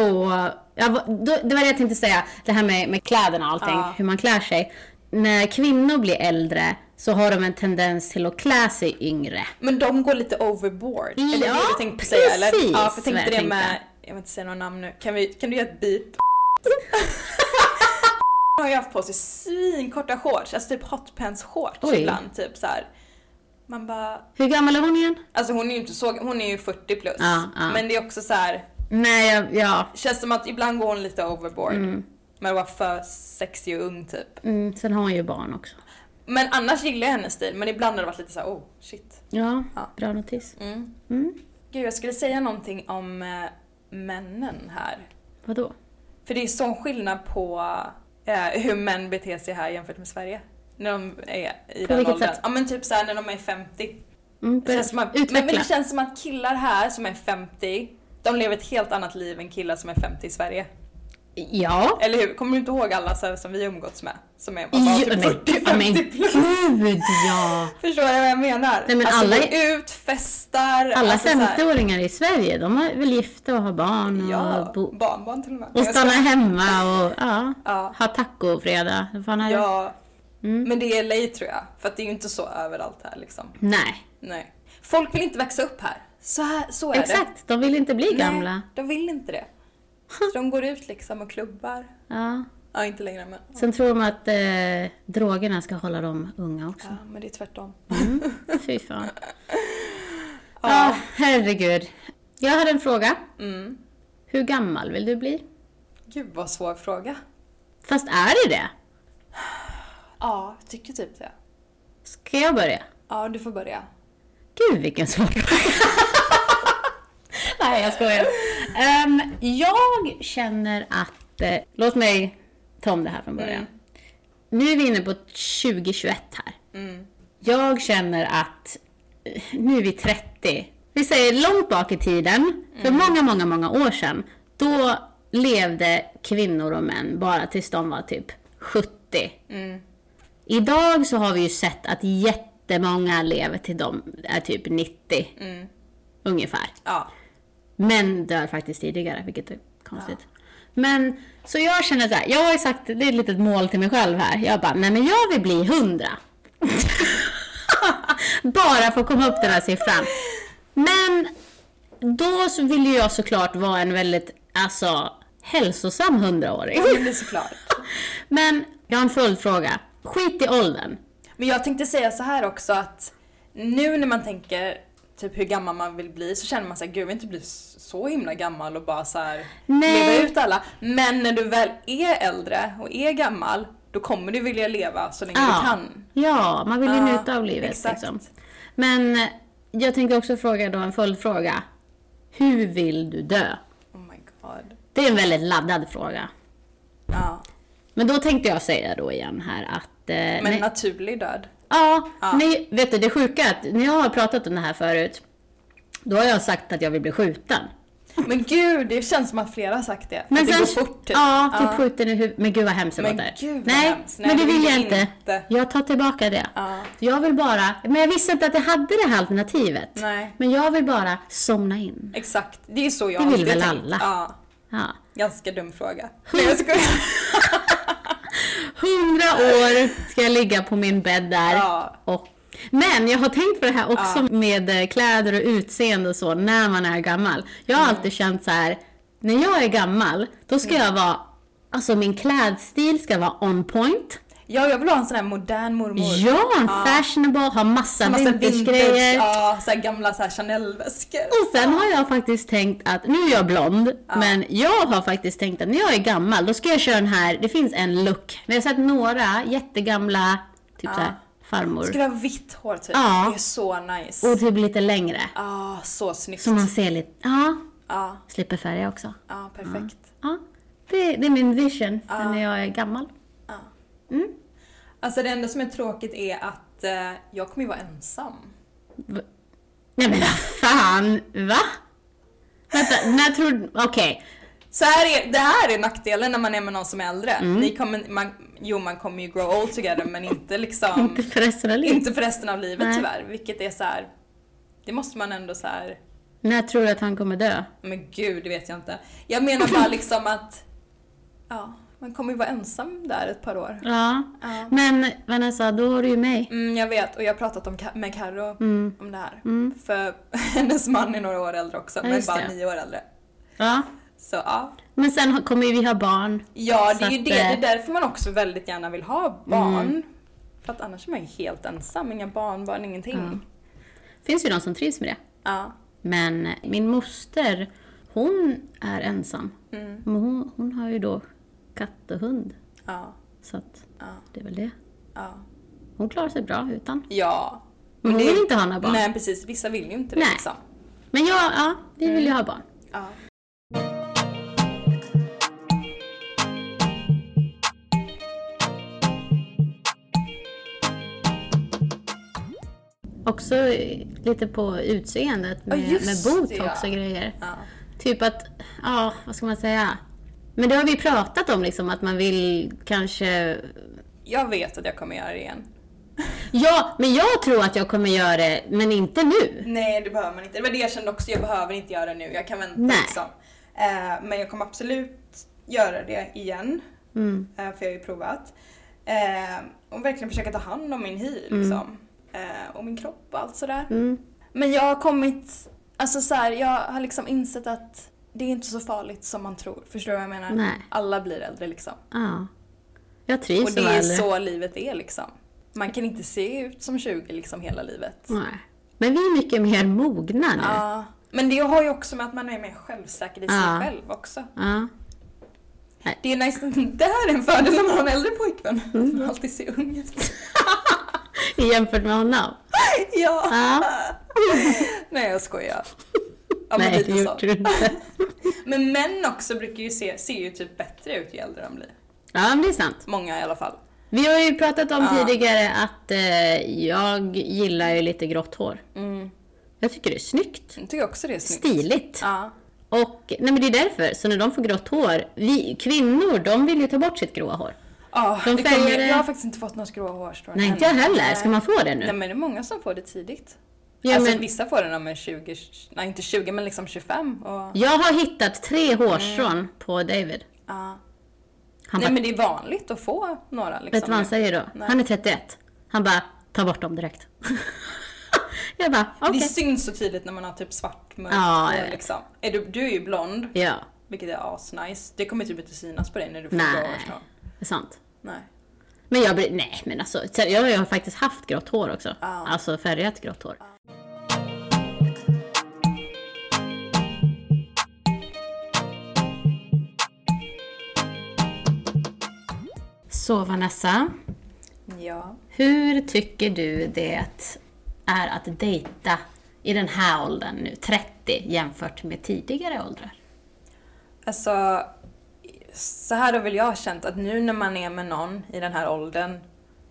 [SPEAKER 1] ja, va- då, det var det jag tänkte säga, det här med, med kläderna och allting,
[SPEAKER 2] Ja.
[SPEAKER 1] hur man klär sig. När kvinnor blir äldre så har de en tendens till att klä sig yngre.
[SPEAKER 2] Men de går lite overboard.
[SPEAKER 1] Mm, Ja,
[SPEAKER 2] eller det är det du tänkte säga eller?
[SPEAKER 1] precis
[SPEAKER 2] Ja, för jag
[SPEAKER 1] vad jag
[SPEAKER 2] tänkte det
[SPEAKER 1] tänkte.
[SPEAKER 2] med, jag vill inte säga några namn nu. Kan, vi, kan du göra ett beep?
[SPEAKER 1] <laughs>
[SPEAKER 2] Han har ju haft på sig svinkorta shorts, alltså typ hotpants shorts
[SPEAKER 1] Oj.
[SPEAKER 2] ibland. Typ så här. Man bara,
[SPEAKER 1] Hur gammal är hon igen?
[SPEAKER 2] alltså hon är ju inte så, hon är ju 40 plus.
[SPEAKER 1] Ja, ja.
[SPEAKER 2] Men det är också så här.
[SPEAKER 1] Nej, jag, ja.
[SPEAKER 2] känns som att ibland går hon lite overboard. Men var för sexig och ung typ.
[SPEAKER 1] Mm, sen har hon ju barn också.
[SPEAKER 2] Men annars gillar jag hennes stil, men ibland har det varit lite så här, oh shit.
[SPEAKER 1] Ja,
[SPEAKER 2] Ja.
[SPEAKER 1] bra notis.
[SPEAKER 2] Mm.
[SPEAKER 1] Mm.
[SPEAKER 2] Gud, jag skulle säga någonting om eh, männen här.
[SPEAKER 1] Vadå?
[SPEAKER 2] För det är sån skillnad på eh, hur män beter sig här jämfört med Sverige. När de är i
[SPEAKER 1] På
[SPEAKER 2] den
[SPEAKER 1] vilket
[SPEAKER 2] åldern.
[SPEAKER 1] sätt?
[SPEAKER 2] Ja men typ såhär när de är 50.
[SPEAKER 1] Mm,
[SPEAKER 2] Det känns som att, men,
[SPEAKER 1] Utveckla.
[SPEAKER 2] men det känns som att killar här som är 50, de lever ett helt annat liv än killar som är 50 i Sverige.
[SPEAKER 1] Ja.
[SPEAKER 2] Eller hur? Kommer du inte ihåg alla så här, som vi umgåtts med? Som är bara
[SPEAKER 1] Jo,
[SPEAKER 2] typ
[SPEAKER 1] men- ja,
[SPEAKER 2] 40-50
[SPEAKER 1] men
[SPEAKER 2] plus.
[SPEAKER 1] gud ja!
[SPEAKER 2] Förstår du vad jag menar?
[SPEAKER 1] Nej, men
[SPEAKER 2] alltså
[SPEAKER 1] alla
[SPEAKER 2] går
[SPEAKER 1] är-
[SPEAKER 2] ut, festar.
[SPEAKER 1] Alla
[SPEAKER 2] alltså, så här-
[SPEAKER 1] 50-åringar i Sverige, de är väl gifta och har barn och,
[SPEAKER 2] Ja,
[SPEAKER 1] Mm, bo-
[SPEAKER 2] barnbarn till och med.
[SPEAKER 1] och stannar hemma och ja,
[SPEAKER 2] Ja.
[SPEAKER 1] har tacofredag. Vad fan är det?
[SPEAKER 2] Ja.
[SPEAKER 1] Mm.
[SPEAKER 2] Men det är LA tror jag. För att det är ju inte så överallt här liksom.
[SPEAKER 1] Nej,
[SPEAKER 2] Nej. Folk vill inte växa upp här. Så, här, så är det.
[SPEAKER 1] exakt. De vill inte bli gamla.
[SPEAKER 2] Nej, de vill inte det. Så de går ut liksom och klubbar.
[SPEAKER 1] Ja.
[SPEAKER 2] Ja, inte längre men.
[SPEAKER 1] Sen tror de att eh, drogerna ska hålla dem unga också. Mm.
[SPEAKER 2] Ja, men det är tvärtom. <laughs>
[SPEAKER 1] Fy fan.
[SPEAKER 2] Ja.
[SPEAKER 1] Ja, herregud. Jag hade en fråga.
[SPEAKER 2] Mm.
[SPEAKER 1] Hur gammal vill du bli?
[SPEAKER 2] Gud vad svår fråga.
[SPEAKER 1] Fast är det det?
[SPEAKER 2] Ja, jag tycker typ det.
[SPEAKER 1] Ska jag börja?
[SPEAKER 2] Ja, du får börja.
[SPEAKER 1] Gud vilken svår <laughs> fråga. Nej, jag skojar. Ehm, jag känner att... Eh, låt mig ta om det här från början. Nu är vi inne på 2021 här.
[SPEAKER 2] Mm.
[SPEAKER 1] Jag känner att... eh, Nu är vi 30. Vi säger långt bak i tiden, för många, många, många år sedan. Då levde kvinnor och män bara tills de var typ 70.
[SPEAKER 2] Mm.
[SPEAKER 1] Idag så har vi ju sett att jättemånga lever till de är typ 90
[SPEAKER 2] Mm.
[SPEAKER 1] ungefär. <laughs>
[SPEAKER 2] Ja.
[SPEAKER 1] Män dör faktiskt tidigare, vilket är konstigt. Men så jag känner så här, jag har ju sagt, det är ett litet mål till mig själv här. Jag bara, nej men jag vill bli 100. <laughs> bara för att komma upp den här siffran. Men då så vill ju jag såklart vara en väldigt, alltså hälsosam 100-åring.
[SPEAKER 2] Det blir såklart.
[SPEAKER 1] Men jag har en följdfråga. Skit i åldern.
[SPEAKER 2] Men jag tänkte säga så här också att nu när man tänker typ hur gammal man vill bli så känner man sig gud jag vill inte bli s- så himla gammal och bara så här
[SPEAKER 1] Nej.
[SPEAKER 2] leva ut alla. Men när du väl är äldre och är gammal då kommer du vilja leva så länge du kan.
[SPEAKER 1] Ja, man vill ju
[SPEAKER 2] Ja,
[SPEAKER 1] njuta av livet.
[SPEAKER 2] exakt.
[SPEAKER 1] Liksom. Men eh, jag tänkte också fråga då en följdfråga. Hur vill du dö?
[SPEAKER 2] Oh my god.
[SPEAKER 1] Det är en väldigt laddad fråga.
[SPEAKER 2] Ja.
[SPEAKER 1] Men då tänkte jag säga då igen här att... Eh,
[SPEAKER 2] Men
[SPEAKER 1] nej-
[SPEAKER 2] naturlig död.
[SPEAKER 1] Ja,
[SPEAKER 2] Ja.
[SPEAKER 1] Nej, vet du det sjuka är att när jag har pratat om det här förut, då har jag sagt att jag vill bli skjuten.
[SPEAKER 2] Men gud, det känns som att flera har sagt det.
[SPEAKER 1] Men
[SPEAKER 2] att det
[SPEAKER 1] sen,
[SPEAKER 2] går fort typ.
[SPEAKER 1] Ja, typ skjuten i huvudet. Men gud vad hemskt det
[SPEAKER 2] Men
[SPEAKER 1] låter.
[SPEAKER 2] gud vad
[SPEAKER 1] Nej,
[SPEAKER 2] hemskt.
[SPEAKER 1] men det vill jag inte. Jag tar tillbaka det.
[SPEAKER 2] Ja.
[SPEAKER 1] Jag vill bara, men jag visste inte att jag hade det här alternativet.
[SPEAKER 2] Nej.
[SPEAKER 1] Men jag vill bara somna in.
[SPEAKER 2] Exakt, det är så jag
[SPEAKER 1] Det vill
[SPEAKER 2] alltid
[SPEAKER 1] väl
[SPEAKER 2] tänkt.
[SPEAKER 1] alla?
[SPEAKER 2] Ja,
[SPEAKER 1] Ja.
[SPEAKER 2] ganska dum fråga. Nej, jag skojar.
[SPEAKER 1] <laughs> Hundra år ska jag ligga på min bädd där.
[SPEAKER 2] Ja.
[SPEAKER 1] Och, men jag har tänkt på det här också med eh, kläder och utseende och så när man är gammal. Jag har
[SPEAKER 2] Mm.
[SPEAKER 1] alltid känt så här, när jag är gammal, då ska jag vara, alltså min klädstil ska vara on point.
[SPEAKER 2] Ja, jag vill ha en sån här modern mormor.
[SPEAKER 1] Ja, fashionable, ha massa,
[SPEAKER 2] Massa
[SPEAKER 1] vintagegrejor.
[SPEAKER 2] vintage, ja, så här gamla så här Chanel-väskor.
[SPEAKER 1] Och sen har jag faktiskt tänkt att, nu är jag blond, men jag har faktiskt tänkt att när jag är gammal då ska jag köra den här, det finns en look. Vi har sett några jättegamla, typ såhär farmor.
[SPEAKER 2] Skulle ha vitt hår typ.
[SPEAKER 1] Ja.
[SPEAKER 2] Det är så nice.
[SPEAKER 1] Och typ lite längre.
[SPEAKER 2] Ja, så snyggt.
[SPEAKER 1] Så
[SPEAKER 2] Ja,
[SPEAKER 1] man ser lite, ja,
[SPEAKER 2] ja,
[SPEAKER 1] slipper färga också.
[SPEAKER 2] perfekt.
[SPEAKER 1] Ja, det, det är min vision för när jag är gammal.
[SPEAKER 2] Alltså det enda som är tråkigt är att eh, jag kommer ju vara ensam.
[SPEAKER 1] V- Nej men vad fan, va? Vänta, när tror du, okej.
[SPEAKER 2] Så här är, det här är nackdelen när man är med någon som är äldre. Ni kommer, man, jo, man kommer ju grow old together men <laughs> inte liksom...
[SPEAKER 1] Inte för resten av livet.
[SPEAKER 2] inte för resten av livet
[SPEAKER 1] Nej.
[SPEAKER 2] tyvärr. Vilket är så här. det måste man ändå så här.
[SPEAKER 1] När tror du att han kommer dö?
[SPEAKER 2] men gud det vet jag inte. Jag menar bara liksom att, <laughs> ja, man kommer ju vara ensam där ett par år.
[SPEAKER 1] Ja.
[SPEAKER 2] Ja.
[SPEAKER 1] Men Vanessa, då har du ju mig.
[SPEAKER 2] Mm, jag vet och jag har pratat om, Ka- med Carro
[SPEAKER 1] Mm.
[SPEAKER 2] om det här.
[SPEAKER 1] Mm.
[SPEAKER 2] För <laughs> hennes man är några år äldre också, men
[SPEAKER 1] just
[SPEAKER 2] bara
[SPEAKER 1] det.
[SPEAKER 2] nio år äldre.
[SPEAKER 1] Ja.
[SPEAKER 2] Så ja.
[SPEAKER 1] Men sen har- kommer ju vi ha barn.
[SPEAKER 2] Ja, det
[SPEAKER 1] Så
[SPEAKER 2] är ju
[SPEAKER 1] att,
[SPEAKER 2] det. Det är
[SPEAKER 1] eh, Mm.
[SPEAKER 2] därför man också väldigt gärna vill ha barn. För att annars är man ju helt ensam. Inga barnbarn, ingenting.
[SPEAKER 1] Ja. finns ju de som trivs med det.
[SPEAKER 2] Ja.
[SPEAKER 1] Men eh, min moster, hon är ensam.
[SPEAKER 2] Mm.
[SPEAKER 1] Men hon, hon har ju då katt och hund.
[SPEAKER 2] Ja.
[SPEAKER 1] Så att
[SPEAKER 2] Ja.
[SPEAKER 1] det är väl det.
[SPEAKER 2] Ja.
[SPEAKER 1] Hon klarar sig bra utan.
[SPEAKER 2] ja.
[SPEAKER 1] Men hon
[SPEAKER 2] det-
[SPEAKER 1] vill inte ha några barn.
[SPEAKER 2] Nej precis, vissa vill ju inte det
[SPEAKER 1] Nej.
[SPEAKER 2] liksom.
[SPEAKER 1] Men ja, ja vi vill ju
[SPEAKER 2] Mm.
[SPEAKER 1] ha barn.
[SPEAKER 2] Ja.
[SPEAKER 1] Också eh, lite på utseendet med,
[SPEAKER 2] just
[SPEAKER 1] med botox
[SPEAKER 2] det, ja.
[SPEAKER 1] och grejer.
[SPEAKER 2] Ja.
[SPEAKER 1] Typ att, ja, vad ska man säga? Men det har vi pratat om liksom, att man vill kanske...
[SPEAKER 2] Jag vet att jag kommer göra det igen.
[SPEAKER 1] Ja, men jag tror att jag kommer göra det, men inte nu.
[SPEAKER 2] Nej, det behöver man inte. Det var det jag kände också, jag behöver inte göra det nu. Jag kan vänta
[SPEAKER 1] Nej.
[SPEAKER 2] liksom. Eh, men jag kommer absolut göra det igen.
[SPEAKER 1] Mm.
[SPEAKER 2] Eh, för jag har ju provat. Eh, och verkligen försöka ta hand om min hy liksom. Eh, och min kropp och allt sådär.
[SPEAKER 1] Mm.
[SPEAKER 2] Men jag har kommit, alltså så här, jag har liksom insett att det är inte så farligt som man tror. Förstår du vad jag menar?
[SPEAKER 1] Nej.
[SPEAKER 2] Alla blir äldre liksom.
[SPEAKER 1] Ja. Jag
[SPEAKER 2] Och
[SPEAKER 1] trivs
[SPEAKER 2] det
[SPEAKER 1] som
[SPEAKER 2] är
[SPEAKER 1] äldre.
[SPEAKER 2] så livet är liksom. Man kan inte se ut som 20 liksom hela livet.
[SPEAKER 1] Nej. Men vi är mycket mer mogna nu. Ja.
[SPEAKER 2] Ja, men det har ju också med att man är mer självsäker i sig
[SPEAKER 1] Ja.
[SPEAKER 2] själv också.
[SPEAKER 1] ja. <laughs>
[SPEAKER 2] Det är nice, det här är en fördel när man har en äldre pojkvän.
[SPEAKER 1] Mm.
[SPEAKER 2] Att man alltid ser ung ut.
[SPEAKER 1] <laughs> Jämfört med honom.
[SPEAKER 2] ja.
[SPEAKER 1] Ja.
[SPEAKER 2] <laughs> Nej jag skojar. Ja, men
[SPEAKER 1] Nej,
[SPEAKER 2] lite
[SPEAKER 1] det
[SPEAKER 2] så.
[SPEAKER 1] gjorde du inte.
[SPEAKER 2] Men män också brukar ju se, ser ju typ bättre ut ju äldre de blir.
[SPEAKER 1] Ja, men det är sant.
[SPEAKER 2] Många i alla fall.
[SPEAKER 1] Vi har ju pratat om
[SPEAKER 2] Ja.
[SPEAKER 1] tidigare att eh, jag gillar ju lite grått hår.
[SPEAKER 2] Mm.
[SPEAKER 1] Jag tycker det är snyggt.
[SPEAKER 2] Jag tycker också det är snyggt.
[SPEAKER 1] Stiligt.
[SPEAKER 2] Ja.
[SPEAKER 1] Och, nej men det är därför, så när de får grått hår, vi kvinnor, de vill ju ta bort sitt gråa hår.
[SPEAKER 2] Ja,
[SPEAKER 1] De
[SPEAKER 2] det kommer,
[SPEAKER 1] färgade-
[SPEAKER 2] jag har faktiskt inte fått några grå hårstrån
[SPEAKER 1] Nej,
[SPEAKER 2] än.
[SPEAKER 1] inte jag heller. Ska
[SPEAKER 2] Nej.
[SPEAKER 1] man få det nu?
[SPEAKER 2] Nej men det är många som får det tidigt.
[SPEAKER 1] Ja,
[SPEAKER 2] alltså
[SPEAKER 1] men,
[SPEAKER 2] vissa får det när de är 20, nej inte 20 men liksom 25 och
[SPEAKER 1] jag har hittat tre hårstrån på David.
[SPEAKER 2] ja.
[SPEAKER 1] Han bara,
[SPEAKER 2] Mm. Nej men det är vanligt att få några liksom.
[SPEAKER 1] vet du vad han säger då?
[SPEAKER 2] Nej.
[SPEAKER 1] Han är 31. Han bara, ta bort dem direkt. <laughs> jag bara, okej.
[SPEAKER 2] Det syns så tydligt när man har typ svart mörkt
[SPEAKER 1] Ja, jag
[SPEAKER 2] hår
[SPEAKER 1] vet.
[SPEAKER 2] liksom. Är du, du är ju blond,
[SPEAKER 1] Ja,
[SPEAKER 2] vilket är asnice. Det kommer typ inte synas på dig när du får grå
[SPEAKER 1] nej.
[SPEAKER 2] hårstrån.
[SPEAKER 1] Det är sant.
[SPEAKER 2] Nej.
[SPEAKER 1] Men jag blir, nej men alltså, så här, jag har ju faktiskt haft grått hår också.
[SPEAKER 2] Ja.
[SPEAKER 1] Alltså färgat grått hår. Så Vanessa,
[SPEAKER 2] Ja.
[SPEAKER 1] hur tycker du det är att dejta i den här åldern nu, 30, jämfört med tidigare åldrar?
[SPEAKER 2] Alltså, så här har väl jag känt att nu när man är med någon i den här åldern,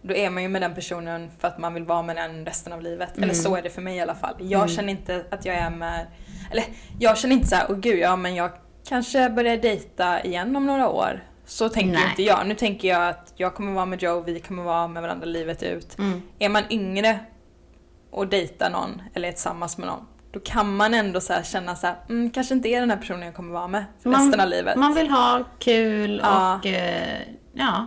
[SPEAKER 2] då är man ju med den personen för att man vill vara med den resten av livet. Eller så är det för mig i alla fall. Jag känner inte att jag är med, eller jag känner inte så här, åh gud, ja men jag kanske börjar dejta igen om några år. Så tänker
[SPEAKER 1] Nej.
[SPEAKER 2] inte jag. Nu tänker jag att jag kommer vara med Joe, vi kommer vara med varandra livet ut. Är man yngre och dejtar någon eller är tillsammans med någon, då kan man ändå så här känna så här, mm, kanske inte är den här personen jag kommer vara med för
[SPEAKER 1] Man-
[SPEAKER 2] resten av livet.
[SPEAKER 1] Man vill ha kul
[SPEAKER 2] Ja.
[SPEAKER 1] och eh, ja,
[SPEAKER 2] Men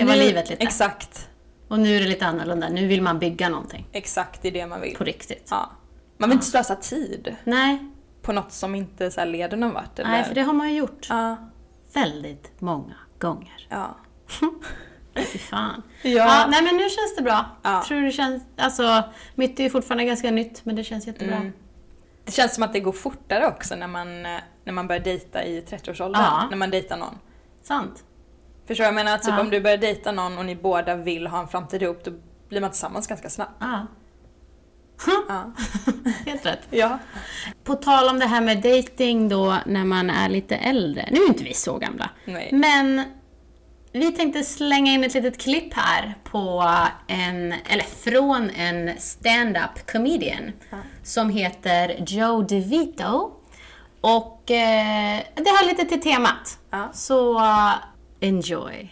[SPEAKER 1] leva
[SPEAKER 2] nu-
[SPEAKER 1] livet lite.
[SPEAKER 2] Exakt,
[SPEAKER 1] Och nu är det lite annorlunda. Nu vill man bygga någonting
[SPEAKER 2] exakt det är det man vill.
[SPEAKER 1] på riktigt.
[SPEAKER 2] Ja. Man vill inte slösa tid
[SPEAKER 1] Nej,
[SPEAKER 2] på något som inte så här leder någon vart. Eller?
[SPEAKER 1] nej, för det har man ju gjort
[SPEAKER 2] Ja,
[SPEAKER 1] väldigt många gånger.
[SPEAKER 2] ja.
[SPEAKER 1] Fy fan.
[SPEAKER 2] Ja.
[SPEAKER 1] Ja, nej men nu känns det bra.
[SPEAKER 2] Ja.
[SPEAKER 1] Tror det känns, alltså, mitt är ju fortfarande ganska nytt, men det känns jättebra.
[SPEAKER 2] Mm. Det känns som att det går fortare också när man, eh, när man börjar dejta i 30-årsåldern.
[SPEAKER 1] Ja.
[SPEAKER 2] När man dejtar någon.
[SPEAKER 1] Sant.
[SPEAKER 2] Förstår du vad jag menar? Typ
[SPEAKER 1] Ja.
[SPEAKER 2] om du börjar dejta någon och ni båda vill ha en framtid ihop, då blir man tillsammans ganska snabbt.
[SPEAKER 1] Ja.
[SPEAKER 2] Ja.
[SPEAKER 1] <laughs> Helt rätt.
[SPEAKER 2] ja.
[SPEAKER 1] På tal om det här med dating då, när man är lite äldre. Nu är inte vi så gamla.
[SPEAKER 2] Nej.
[SPEAKER 1] Men vi tänkte slänga in ett litet klipp här på en, eller från en stand-up comedian som heter Joe DeVito. Och eh, det hör lite till temat.
[SPEAKER 2] Ja.
[SPEAKER 1] Så eh, enjoy.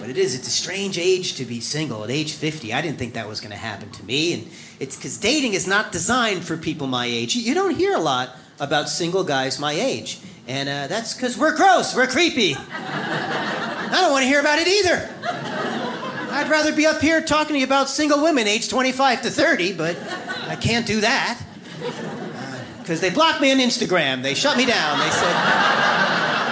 [SPEAKER 3] But it is, it's a strange age to be single. At age 50, I didn't think that was going to happen to me. And it's because dating is not designed for people my age. You, you don't hear a lot about single guys my age. And uh, that's because we're gross, we're creepy. <laughs> I don't want to hear about it either. I'd rather be up here talking to you about single women age 25 to 30, but I can't do that. Because they blocked me on Instagram. They shut me down. They said,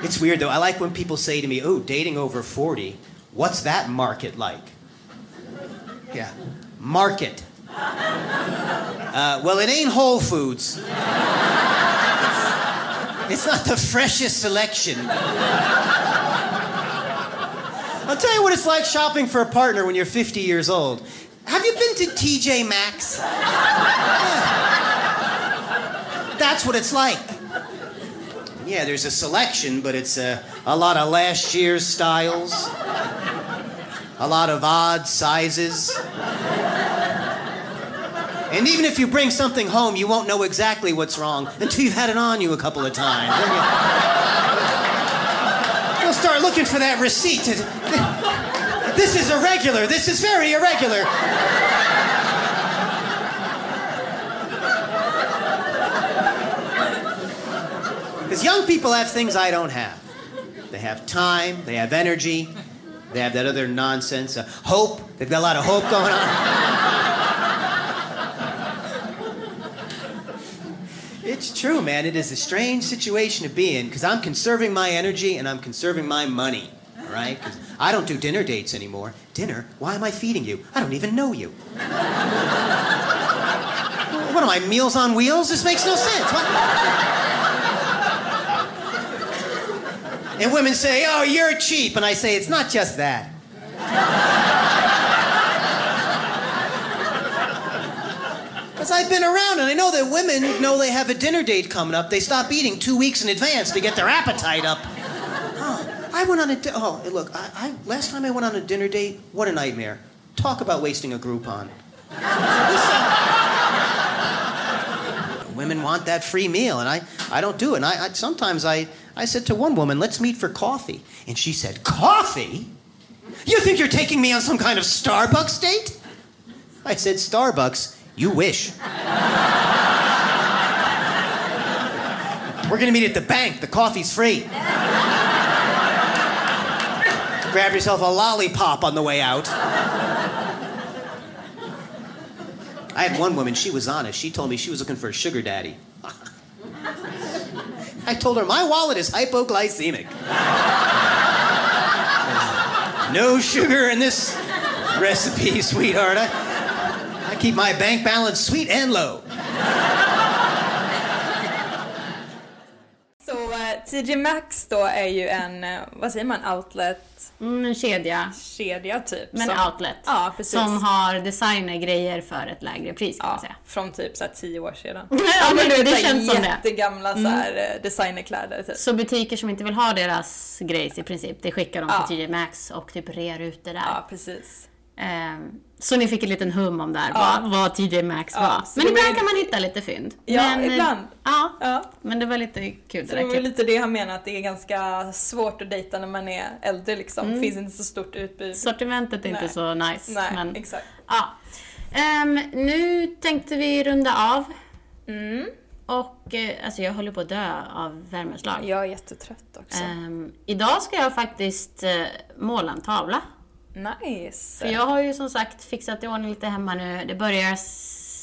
[SPEAKER 3] It's weird though. I like when people say to me, "Oh, dating over 40, what's that market like?" Yeah, market. Uh, well, it ain't Whole Foods. It's not the freshest selection. I'll tell you what it's like shopping for a partner when you're 50 years old. Have you been to TJ Maxx? Yeah. That's what it's like. Yeah, there's a selection, but it's a, a lot of last year's styles, a lot of odd sizes. And even if you bring something home, you won't know exactly what's wrong until you've had it on you a couple of times. Then you- You'll start looking for that receipt. This is irregular. This is very irregular. Because young people have things I don't have. They have time, they have energy, they have that other nonsense, uh, hope. They've got a lot of hope going on. <laughs> It's true, man. It is a strange situation to be in because I'm conserving my energy and I'm conserving my money, all right? Because I don't do dinner dates anymore. Dinner? Why am I feeding you? I don't even know you. <laughs> what am I, Meals on Wheels? This makes no sense. What? And women say, oh, you're cheap. And I say, it's not just that. Because I've been around and I know that women know they have a dinner date coming up. They stop eating two weeks in advance to get their appetite up. Oh, I went on a di- oh look I, I last time I went on a dinner date what a nightmare talk about wasting a Groupon. women want that free meal and i, I don't do it and I, I sometimes I, I said to one woman let's meet for coffee and she said coffee you think you're taking me on some kind of starbucks date i said starbucks you wish we're going to meet at the bank the coffee's free grab yourself a lollipop on the way out I had one woman, she was honest. She told me she was looking for a sugar daddy. I told her, my wallet is hypoglycemic. no sugar in this recipe, sweetheart. I, I keep my bank balance sweet and low.
[SPEAKER 2] Så eh, TJ Maxx då är ju en, eh, vad säger man, outlet-kedja
[SPEAKER 1] Mm, en kedja.
[SPEAKER 2] typ.
[SPEAKER 1] Men
[SPEAKER 2] som-
[SPEAKER 1] outlet.
[SPEAKER 2] Ja, precis.
[SPEAKER 1] Som har designergrejer för ett lägre pris kan man
[SPEAKER 2] ja, <laughs>
[SPEAKER 1] säga.
[SPEAKER 2] från typ såhär tio år sedan.
[SPEAKER 1] <laughs> Ja, men det,
[SPEAKER 2] du vet,
[SPEAKER 1] det
[SPEAKER 2] så här
[SPEAKER 1] känns som det. Mm.
[SPEAKER 2] Jättegamla såhär eh, designerkläder typ.
[SPEAKER 1] Så butiker som inte vill ha deras grejs i princip, det skickar de till TJ Maxx och typ rear ut det där.
[SPEAKER 2] Ja, precis.
[SPEAKER 1] Ehm, Så ni fick en liten hum om där, vad, vad TJ Maxx var.
[SPEAKER 2] så
[SPEAKER 1] Men
[SPEAKER 2] det var
[SPEAKER 1] ibland
[SPEAKER 2] ju-
[SPEAKER 1] kan man hitta lite fynd.
[SPEAKER 2] Ja,
[SPEAKER 1] men, eh,
[SPEAKER 2] ibland.
[SPEAKER 1] Ja,
[SPEAKER 2] Ja.
[SPEAKER 1] men det var lite kul
[SPEAKER 2] Så
[SPEAKER 1] det
[SPEAKER 2] det
[SPEAKER 1] där.
[SPEAKER 2] var ju
[SPEAKER 1] klippet.
[SPEAKER 2] lite det han menar, att det är ganska svårt att dejta när man är äldre liksom.
[SPEAKER 1] Mm.
[SPEAKER 2] Det finns inte så stort utbud.
[SPEAKER 1] Sortimentet är inte
[SPEAKER 2] Nej.
[SPEAKER 1] så nice.
[SPEAKER 2] Nej,
[SPEAKER 1] men,
[SPEAKER 2] exakt.
[SPEAKER 1] ja. Ehm, nu tänkte vi runda av. Mm. Och eh, alltså jag håller på att dö av värmeslag.
[SPEAKER 2] Jag är jättetrött också.
[SPEAKER 1] Ehm, idag ska jag faktiskt eh, måla en tavla.
[SPEAKER 2] Nice!
[SPEAKER 1] För jag har ju som sagt fixat i ordning lite hemma nu. Det börjar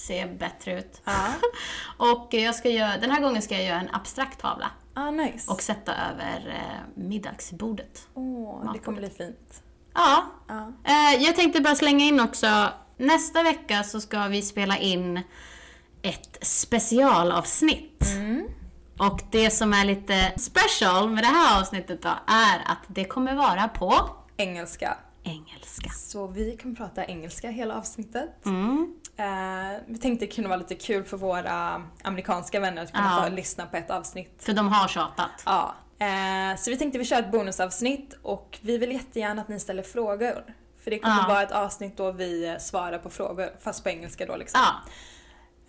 [SPEAKER 1] se bättre ut.
[SPEAKER 2] Ja.
[SPEAKER 1] <laughs> och jag ska göra, den här gången ska jag göra en abstrakt tavla
[SPEAKER 2] Ah, nice.
[SPEAKER 1] och sätta över eh, middagsbordet.
[SPEAKER 2] Åh, det kommer bli fint.
[SPEAKER 1] Ja.
[SPEAKER 2] Ja.
[SPEAKER 1] Eh, jag tänkte bara slänga in också, nästa vecka så ska vi spela in ett specialavsnitt.
[SPEAKER 2] Mm.
[SPEAKER 1] Och det som är lite special med det här avsnittet då, är att det kommer vara på
[SPEAKER 2] Engelska.
[SPEAKER 1] engelska.
[SPEAKER 2] Så vi kommer prata engelska hela avsnittet.
[SPEAKER 1] Mm.
[SPEAKER 2] Eh, vi tänkte det kunde vara lite kul för våra amerikanska vänner att kunna
[SPEAKER 1] Ja.
[SPEAKER 2] få lyssna på ett avsnitt.
[SPEAKER 1] För de har tjatat.
[SPEAKER 2] Ja. Eh, så vi tänkte vi kör ett bonusavsnitt och vi vill jättegärna att ni ställer frågor. För det kommer
[SPEAKER 1] Ja.
[SPEAKER 2] vara ett avsnitt då vi eh, svarar på frågor, fast på engelska då liksom.
[SPEAKER 1] Ja,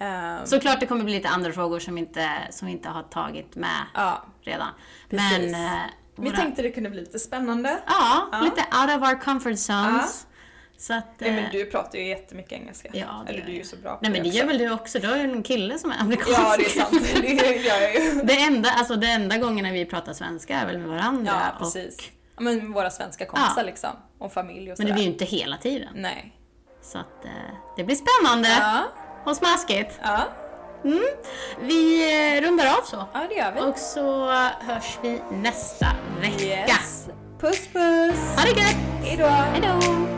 [SPEAKER 2] Eh,
[SPEAKER 1] såklart det kommer bli lite andra frågor som, inte, som vi inte har tagit med
[SPEAKER 2] ja.
[SPEAKER 1] redan.
[SPEAKER 2] Precis.
[SPEAKER 1] Men, eh,
[SPEAKER 2] Vi
[SPEAKER 1] våra-
[SPEAKER 2] tänkte det kunde bli lite spännande.
[SPEAKER 1] ja, lite out of our comfort zones. Så att,
[SPEAKER 2] Nej, men
[SPEAKER 1] eh,
[SPEAKER 2] du pratar ju jättemycket engelska.
[SPEAKER 1] Ja, det
[SPEAKER 2] Eller
[SPEAKER 1] gör
[SPEAKER 2] du är ju
[SPEAKER 1] jag.
[SPEAKER 2] så bra på
[SPEAKER 1] Nej men det
[SPEAKER 2] också.
[SPEAKER 1] gör väl du också, du har ju en kille som är amerikansk.
[SPEAKER 2] Ja, det är sant. <laughs> Det gör jag ju.
[SPEAKER 1] <laughs> Det enda, alltså det enda gången när vi pratar svenska är väl med varandra.
[SPEAKER 2] Ja,
[SPEAKER 1] och-
[SPEAKER 2] precis. Ja, men våra svenska kompisar
[SPEAKER 1] Ja.
[SPEAKER 2] liksom. Och familj och
[SPEAKER 1] Men det
[SPEAKER 2] sådär.
[SPEAKER 1] blir ju inte hela tiden.
[SPEAKER 2] Nej.
[SPEAKER 1] Så att eh, det blir spännande
[SPEAKER 2] Ja,
[SPEAKER 1] och smaskigt.
[SPEAKER 2] ja,
[SPEAKER 1] Vi eh, rundar av så.
[SPEAKER 2] ja det gör vi.
[SPEAKER 1] Och så hörs vi nästa vecka.
[SPEAKER 2] Yes. Puss puss!
[SPEAKER 1] Ha det gött!
[SPEAKER 2] Hejdå!
[SPEAKER 1] Hejdå!